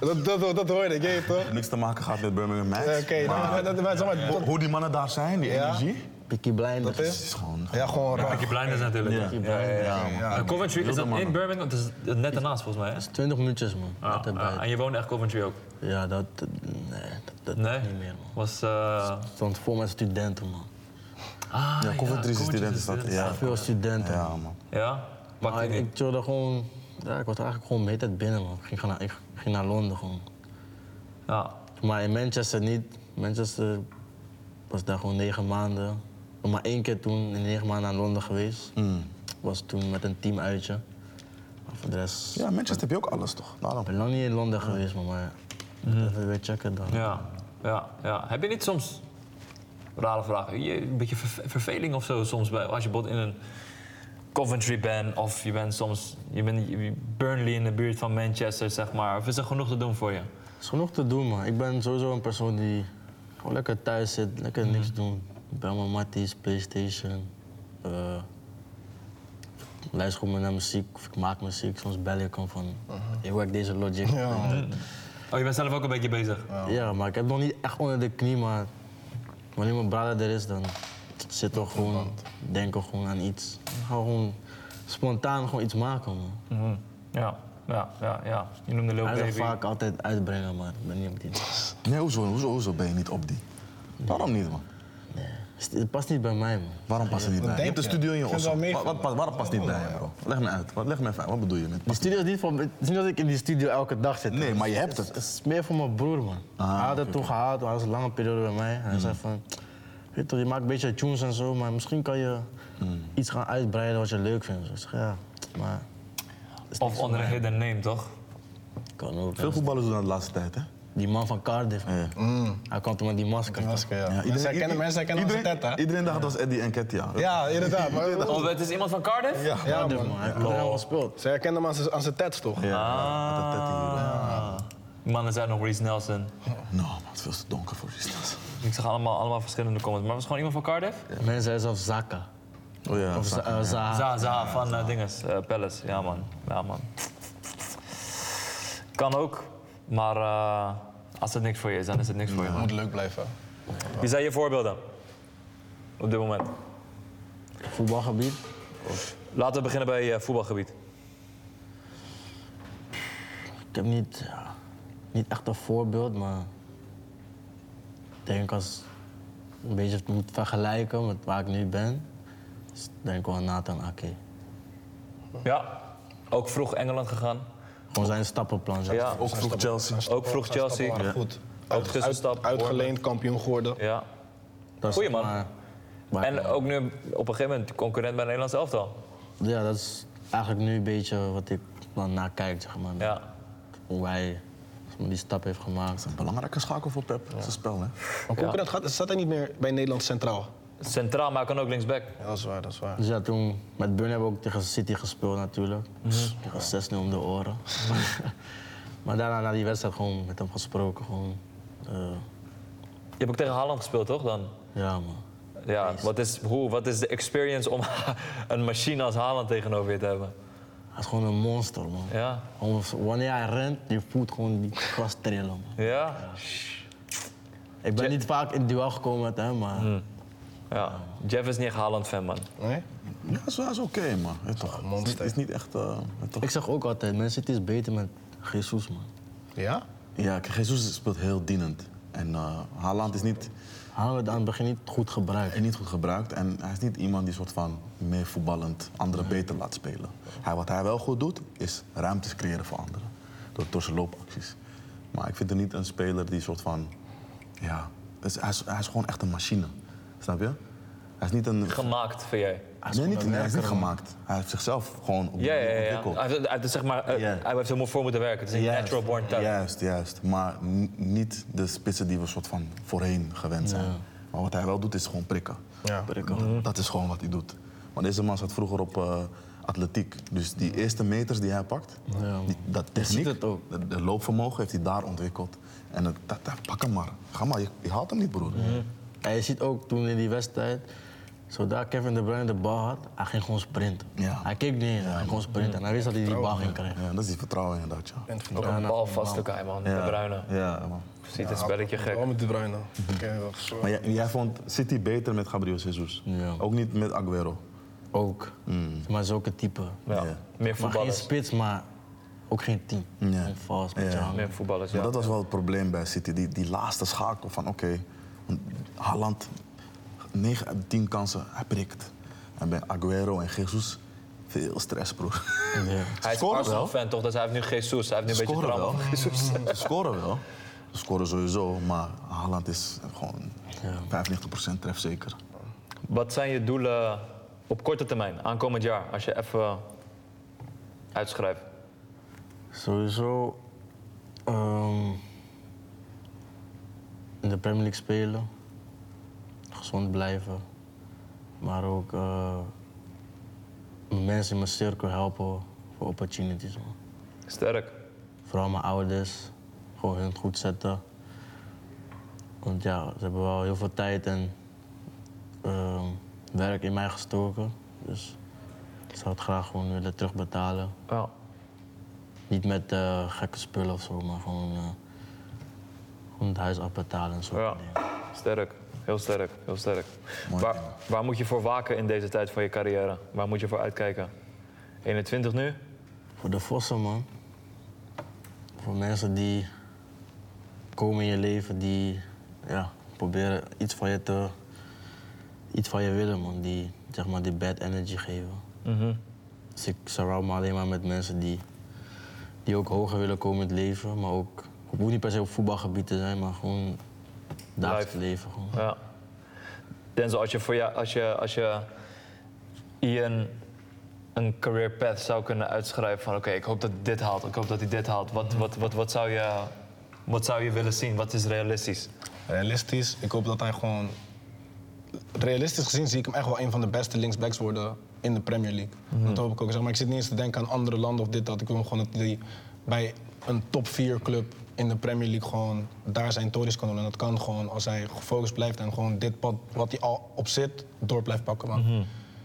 [SPEAKER 4] Dat, dat, dat, dat hoorde ik, je weet toch?
[SPEAKER 3] Niks te maken gaat met Birmingham Max.
[SPEAKER 4] Ja, Oké, nou, maar dat- maar zeg maar, dat-
[SPEAKER 3] Hoe die mannen daar zijn, die
[SPEAKER 4] Ja.
[SPEAKER 3] energie.
[SPEAKER 1] Picky blinders.
[SPEAKER 4] Dat is-
[SPEAKER 3] Het is gewoon...
[SPEAKER 4] Ja, gewoon raf.
[SPEAKER 2] Je blinders natuurlijk.
[SPEAKER 3] Ja.
[SPEAKER 2] Ja, ja, ja. En Coventry, is dat in Birmingham? Dat is net daarnaast volgens mij, hè?
[SPEAKER 1] 20 minuutjes, man.
[SPEAKER 2] Ja,
[SPEAKER 1] Altijd bij.
[SPEAKER 2] ja. Ah, en je woonde echt Coventry ook?
[SPEAKER 1] Ja, dat, nee, dat, dat
[SPEAKER 2] Nee?
[SPEAKER 1] niet meer, man.
[SPEAKER 2] Was... eh
[SPEAKER 1] Stond vol met studenten, man.
[SPEAKER 2] Ah,
[SPEAKER 3] Ja, Coventry is een studentenstad. Ja,
[SPEAKER 1] Veel studenten.
[SPEAKER 3] ja man.
[SPEAKER 2] Ja?
[SPEAKER 3] Ah,
[SPEAKER 2] Pak
[SPEAKER 1] Maar
[SPEAKER 2] je
[SPEAKER 1] ik,
[SPEAKER 2] niet.
[SPEAKER 1] ik chillde gewoon. Ja, ik was eigenlijk gewoon de hele tijd binnen, man. Ik ging, gewoon naar, ik ging naar Londen gewoon.
[SPEAKER 2] Ja.
[SPEAKER 1] Maar in Manchester niet. Manchester was daar gewoon negen maanden. Ik ben maar één keer toen in negen maanden naar Londen geweest.
[SPEAKER 2] Hmm.
[SPEAKER 1] Was toen met een team uitje. Maar voor de rest.
[SPEAKER 3] Ja, Manchester heb je ook alles toch? Daarom.
[SPEAKER 1] Ik ben lang niet in Londen geweest, man. Maar even weer checken dan.
[SPEAKER 2] Ja, ja, ja. Heb je niet soms, rare vraag, je- een beetje verve- verveling of zo soms bij, als je bijvoorbeeld in een Coventry bent of je bent soms je bent je- je- Burnley in de buurt van Manchester, zeg maar. Of is er genoeg te doen voor je?
[SPEAKER 1] Het is genoeg te doen, man. Ik ben sowieso een persoon die gewoon lekker thuis zit, lekker niks doen. Ik ben mijn matties, Playstation. eh, luister gewoon naar muziek of ik maak muziek. Soms bel ik hem van, hey, hoe heb ik deze logic? Ja.
[SPEAKER 2] Oh, je bent zelf ook een beetje bezig.
[SPEAKER 1] maar ik heb nog niet echt onder de knie, maar wanneer mijn brother er is, dan zit toch gewoon, denk ik gewoon aan iets. Ik ga gewoon spontaan gewoon iets maken, man.
[SPEAKER 2] Mhm. Ja, ja, ja, ja. Je noemde Lil
[SPEAKER 1] Hij
[SPEAKER 2] Baby.
[SPEAKER 1] zegt vaak altijd uitbrengen, maar ik ben niet op die.
[SPEAKER 3] Nee, hoezo, hoezo, hoezo ben je niet op die? Waarom niet, man?
[SPEAKER 1] Het past niet bij mij, man.
[SPEAKER 3] Waarom past het niet bij? Je
[SPEAKER 4] denk
[SPEAKER 3] hebt een
[SPEAKER 4] je?
[SPEAKER 3] studio in je
[SPEAKER 4] Ik
[SPEAKER 3] os.
[SPEAKER 4] vind het wel
[SPEAKER 3] Wat,
[SPEAKER 4] meevallen.
[SPEAKER 3] wat, wat- waarom past het niet bij hem, bro? Leg me uit. Wat, leg me even uit. Wat bedoel je met
[SPEAKER 1] Die studio is niet voor. Het is niet dat ik in die studio elke dag zit.
[SPEAKER 3] Nee, maar je hebt het. Ah,
[SPEAKER 1] Het is meer voor mijn broer, man. hij had het toen gehaald, hij was een lange periode bij mij.
[SPEAKER 3] Mm.
[SPEAKER 1] Hij zei van, weet toch, je maakt een beetje tunes en zo, maar misschien kan je
[SPEAKER 3] Mm.
[SPEAKER 1] iets gaan uitbreiden wat je leuk vindt. Dus ik zeg, ja, maar
[SPEAKER 2] Of onder een hidden name, toch?
[SPEAKER 1] kan ook.
[SPEAKER 3] Veel voetballers doen dat de laatste tijd, hè?
[SPEAKER 1] Die man van Cardiff, man.
[SPEAKER 3] Ja.
[SPEAKER 1] hij kwam toen met die masker.
[SPEAKER 4] Masker, ja.
[SPEAKER 3] iedereen-
[SPEAKER 4] mensen herkennen, mensen herkennen onze
[SPEAKER 3] iedereen-
[SPEAKER 4] tet, hè?
[SPEAKER 3] Iedereen dacht dat was Eddie en Ketia.
[SPEAKER 4] Ja, inderdaad. Maar,
[SPEAKER 2] Oh, het is iemand van Cardiff?
[SPEAKER 3] Ja.
[SPEAKER 4] ja,
[SPEAKER 1] Cardiff, man.
[SPEAKER 4] man.
[SPEAKER 1] Hij heeft met hem gespeeld.
[SPEAKER 4] Ze herkennen hem aan z'n- aan zijn tats, toch?
[SPEAKER 3] Ja, ja, dat Tetty hier, hoor.
[SPEAKER 2] Die mannen zijn nog Reese Nelson.
[SPEAKER 3] Nou, man, het is veel te donker voor Ristas.
[SPEAKER 2] Ik zag allemaal, allemaal verschillende comments. Maar was het gewoon iemand van Cardiff?
[SPEAKER 1] Mensen zeiden zelfs Zaka.
[SPEAKER 3] Oh ja,
[SPEAKER 1] Of
[SPEAKER 3] Saka.
[SPEAKER 1] Za- eh, Zaha.
[SPEAKER 2] Za, za, van eh, dinges, eh, Palace. Ja man, ja man. Kan ook, maar eh, als het niks voor je is, dan is het niks voor je. man.
[SPEAKER 4] Moet leuk blijven.
[SPEAKER 2] Wie zijn je voorbeelden? Op dit moment.
[SPEAKER 1] Voetbalgebied.
[SPEAKER 2] Laten we beginnen bij eh, voetbalgebied.
[SPEAKER 1] Ik heb niet, ja, niet echt een voorbeeld, maar ik denk als ik een beetje het moet vergelijken met waar ik nu ben, is denk ik wel Nathan Ake.
[SPEAKER 2] Ja, ook vroeg Engeland gegaan.
[SPEAKER 1] Gewoon zijn stappenplan. zeg.
[SPEAKER 2] Ja,
[SPEAKER 3] Ook vroeg Chelsea.
[SPEAKER 2] ook vroeg
[SPEAKER 4] Zijn stappen
[SPEAKER 2] Chelsea.
[SPEAKER 4] waren Goed.
[SPEAKER 2] Ook tussenstap.
[SPEAKER 4] Uitgeleend, kampioen geworden.
[SPEAKER 2] Ja.
[SPEAKER 1] Dat is
[SPEAKER 2] Goeie
[SPEAKER 1] zeg
[SPEAKER 2] man.
[SPEAKER 1] maar waar ik-
[SPEAKER 2] En ook nu op een gegeven moment concurrent bij het Nederlands elftal.
[SPEAKER 1] Ja, dat is eigenlijk nu een beetje wat ik dan naar kijk, zeg maar.
[SPEAKER 2] Ja.
[SPEAKER 1] Hoe hij zeg maar, die stap heeft gemaakt.
[SPEAKER 3] Belangrijke schakel voor Pep. Dat is een spel, hè?
[SPEAKER 4] Maar concurrent gaat, staat hij niet meer bij Nederland Centraal.
[SPEAKER 2] Centraal, maar hij kan ook linksback.
[SPEAKER 4] Ja, dat is waar, dat is waar.
[SPEAKER 1] Dus ja, toen met Burn hebben we ook tegen City gespeeld natuurlijk.
[SPEAKER 2] Mhm.
[SPEAKER 1] Dus Tegen 6-0 om de oren. maar daarna na die wedstrijd gewoon met hem gesproken. Gewoon, eh,
[SPEAKER 2] Je hebt ook tegen Haaland gespeeld, toch dan?
[SPEAKER 1] Ja, man.
[SPEAKER 2] Ja, wat is, hoe, wat is de experience om een machine als Haaland tegenover je te hebben?
[SPEAKER 1] Hij is gewoon een monster, man.
[SPEAKER 2] Ja,
[SPEAKER 1] Gewoon Wanneer hij rent, je voelt gewoon die gras trillen, man.
[SPEAKER 2] ja,
[SPEAKER 1] Ik ben niet vaak in duel gekomen met hem, maar...
[SPEAKER 2] Hmm. ja. Jeff is niet echt Haaland-fan, man.
[SPEAKER 4] Nee?
[SPEAKER 3] Ja, dat is, dat is oké, man. Ja, toch. Het is niet- is niet echt... eh, ja, toch.
[SPEAKER 1] Ik zeg ook altijd, Man City is beter met Jesus, man.
[SPEAKER 4] Ja?
[SPEAKER 3] Ja, kijk, Jesus speelt heel dienend. En eh, Haaland is niet,
[SPEAKER 1] Hadden we het aan het begin niet goed gebruikt.
[SPEAKER 3] niet goed gebruikt. En hij is niet iemand die soort van meer voetballend anderen beter laat spelen. Hij, wat hij wel goed doet, is ruimtes creëren voor anderen. Door, door zijn loopacties. Maar ik vind hem niet een speler die soort van... Ja, is- hij, is, hij is gewoon echt een machine. Snap je? Hij is niet een...
[SPEAKER 2] Gemaakt, vind jij?
[SPEAKER 3] nee, niet, hij is niet gemaakt. Hij heeft zichzelf gewoon op
[SPEAKER 2] Ja, ja, ja. ja.
[SPEAKER 3] ontwikkeld.
[SPEAKER 2] Hij, heeft- hij heeft, zeg maar, eh,
[SPEAKER 3] Ja.
[SPEAKER 2] hij heeft er voor moeten werken. Het is een
[SPEAKER 3] Juist,
[SPEAKER 2] natural born talent.
[SPEAKER 3] Juist, juist. Maar n- niet de spitsen die we soort van voorheen gewend zijn. Maar wat hij wel doet is gewoon prikken.
[SPEAKER 4] Ja.
[SPEAKER 1] Mhm.
[SPEAKER 3] prikken. Dat is gewoon wat hij doet. Maar deze man zat vroeger op eh, atletiek. Dus die eerste meters die hij pakt, die, dat techniek,
[SPEAKER 1] het ook.
[SPEAKER 3] dat- dat loopvermogen heeft hij daar ontwikkeld. En het- dat, dat- pak hem maar. Ga maar, je, je haalt hem niet broer.
[SPEAKER 1] Mhm. En je ziet ook toen in die wedstrijd, zodra Kevin De Bruyne de bal had, hij ging gewoon sprinten.
[SPEAKER 3] Ja.
[SPEAKER 1] Hij keek niet eens, hij ging
[SPEAKER 2] Hmm.
[SPEAKER 1] gewoon sprinten. En hij wist dat hij die bal ging krijgen.
[SPEAKER 3] Ja, dat is die vertrouwen inderdaad, ja.
[SPEAKER 2] Ook een balvaste guy, man. De Bruyne.
[SPEAKER 3] Ja, man.
[SPEAKER 2] Ziet het spelletje gek.
[SPEAKER 4] Wel met de bruine. Oké, dat is
[SPEAKER 3] Maar jij, jij vond City beter met Gabriel Jesus.
[SPEAKER 1] Ja.
[SPEAKER 3] Ook niet met Aguero.
[SPEAKER 1] Ook.
[SPEAKER 3] Hmm.
[SPEAKER 1] Maar zulke type.
[SPEAKER 2] Ja.
[SPEAKER 3] Ja.
[SPEAKER 2] Meer
[SPEAKER 1] Maar geen
[SPEAKER 2] voetballers.
[SPEAKER 1] spits, maar ook geen team.
[SPEAKER 3] Ja.
[SPEAKER 1] Gewoon vals met
[SPEAKER 3] Ja.
[SPEAKER 1] je handen.
[SPEAKER 2] Meer voetballers, ja.
[SPEAKER 3] Maar dat was wel het probleem bij City. Die, die laatste schakel van oké, want Haaland, 9 uit 10 kansen, hij prikt. En bij Aguero en Jesus, veel stress, broer.
[SPEAKER 2] Hij is
[SPEAKER 3] Scoren wel.
[SPEAKER 2] Arsenal-fan, toch? Dus hij heeft nu Jesus. Hij heeft nu een beetje
[SPEAKER 3] Scoren
[SPEAKER 2] trauma
[SPEAKER 3] wel.
[SPEAKER 2] van Jesus.
[SPEAKER 3] Ze scoren wel. Ze scoren sowieso, maar Haaland is gewoon 95% trefzeker.
[SPEAKER 2] Wat zijn je doelen op korte termijn, aankomend jaar? Als je even eh, uitschrijft.
[SPEAKER 1] Sowieso ehm, in de Premier League spelen, gezond blijven, maar ook eh, mensen in mijn cirkel helpen voor opportunities. Man.
[SPEAKER 2] Sterk.
[SPEAKER 1] Vooral mijn ouders, gewoon hun goed zetten. Want ja, ze hebben wel heel veel tijd en ehm, werk in mij gestoken. Dus ik zou het graag gewoon willen terugbetalen.
[SPEAKER 2] Ja.
[SPEAKER 1] Niet met eh, gekke spullen of zo, maar gewoon, eh, gewoon het huis afbetalen en zo.
[SPEAKER 2] Ja, sterk. Heel sterk, heel sterk.
[SPEAKER 3] Mooi
[SPEAKER 2] Waar,
[SPEAKER 3] team.
[SPEAKER 2] waar moet je voor waken in deze tijd van je carrière? Waar moet je voor uitkijken? 21 nu?
[SPEAKER 1] Voor de vossen, man. Voor mensen die komen in je leven, die ja, proberen iets van je te... Iets van je willen, man. Die, zeg maar, die bad energy geven. Dus ik surround me alleen maar met mensen die, die ook hoger willen komen in het leven. Maar ook, het moet niet per se op voetbalgebied te zijn, maar gewoon dagelijks
[SPEAKER 2] Life.
[SPEAKER 1] leven. Gewoon.
[SPEAKER 2] Ja. Denzel, als je, voor jou, als je, als je Ian een career path zou kunnen uitschrijven van oké, ik hoop dat hij dit haalt, ik hoop dat hij dit haalt. Wat, wat, wat, wat, zou je, wat zou je willen zien? Wat is realistisch?
[SPEAKER 4] Realistisch, ik hoop dat hij gewoon... Realistisch gezien zie ik hem echt wel een van de beste linksbacks worden in de Premier League. Dat hoop ik ook. Zeg maar, ik zit niet eens te denken aan andere landen of dit, dat. Ik wil hem gewoon dat hij bij een top 4 club in de Premier League gewoon daar zijn torens kan doen. En dat kan gewoon als hij gefocust blijft en gewoon dit pad wat hij al op zit, door blijft pakken. Man.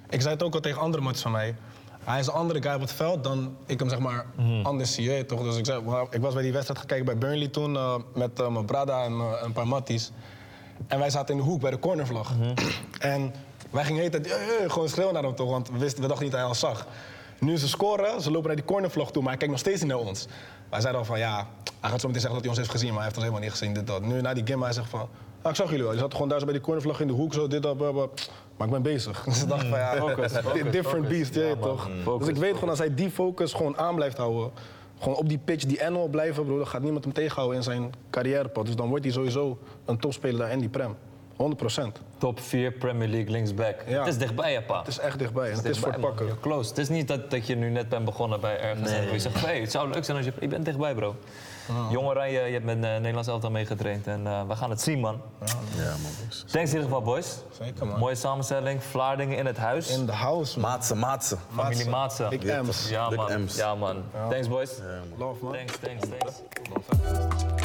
[SPEAKER 4] Ik zei het ook al tegen andere matjes van mij. Hij is een andere guy op het veld dan ik hem zeg maar anders zie. je weet Toch? Dus ik, zei, wauw, ik was bij die wedstrijd gekeken bij Burnley toen eh, met eh, mijn Brada en eh, een paar matties. En wij zaten in de hoek bij de cornervlag. En wij gingen de hele tijd "Hey, hey," gewoon schreeuwen naar hem toch, want we, wisten, we dachten niet dat hij al zag. Nu ze scoren, ze lopen naar die cornervlag toe, maar hij kijkt nog steeds niet naar ons. Wij zeiden al van ja, hij gaat zo meteen zeggen dat hij ons heeft gezien, maar hij heeft ons helemaal niet gezien, dit dat. Nu na die game, hij zegt van, ah, ik zag jullie wel. Je zat gewoon daar zo bij die cornervlag in de hoek, zo dit dat, blah, blah. maar ik ben bezig. Dus ik dacht van ja,
[SPEAKER 2] Focus, focus,
[SPEAKER 4] different
[SPEAKER 2] focus.
[SPEAKER 4] beast, je
[SPEAKER 2] Ja,
[SPEAKER 4] weet
[SPEAKER 2] man.
[SPEAKER 4] toch.
[SPEAKER 2] Focus,
[SPEAKER 4] dus ik weet gewoon, als hij die focus gewoon aan blijft houden, gewoon op die pitch, die annual blijven, broer, dan gaat niemand hem tegenhouden in zijn carrièrepad. Dus dan wordt hij sowieso een topspeler daar in die prem. 100 procent.
[SPEAKER 2] Top 4 Premier League linksback.
[SPEAKER 4] Ja.
[SPEAKER 2] Het is dichtbij, hè, pa.
[SPEAKER 4] Het is echt dichtbij en het is voor het
[SPEAKER 2] dichtbij,
[SPEAKER 4] pakken.
[SPEAKER 2] man. You're Close. Het is niet dat, dat je nu net bent begonnen bij ergens. en dat je zegt, hey, het zou leuk zijn als je... Ik ben dichtbij, bro.
[SPEAKER 4] Ah.
[SPEAKER 2] Jong Oranje, je hebt met eh, Nederlands elftal meegetraind. En eh, we gaan het zien, man.
[SPEAKER 3] Ja, man. boys.
[SPEAKER 2] Thanks in ieder geval, boys.
[SPEAKER 4] Zeker, man.
[SPEAKER 2] Mooie samenstelling. Vlaardingen in het huis.
[SPEAKER 4] In de house, man.
[SPEAKER 3] Maatse, maatse.
[SPEAKER 2] Familie Maatsen.
[SPEAKER 4] Ik Ems.
[SPEAKER 2] Ja,
[SPEAKER 3] Dick
[SPEAKER 2] man.
[SPEAKER 3] Ems.
[SPEAKER 2] Ja, man. Thanks, boys.
[SPEAKER 4] Love, man.
[SPEAKER 2] Thanks, thanks, thanks.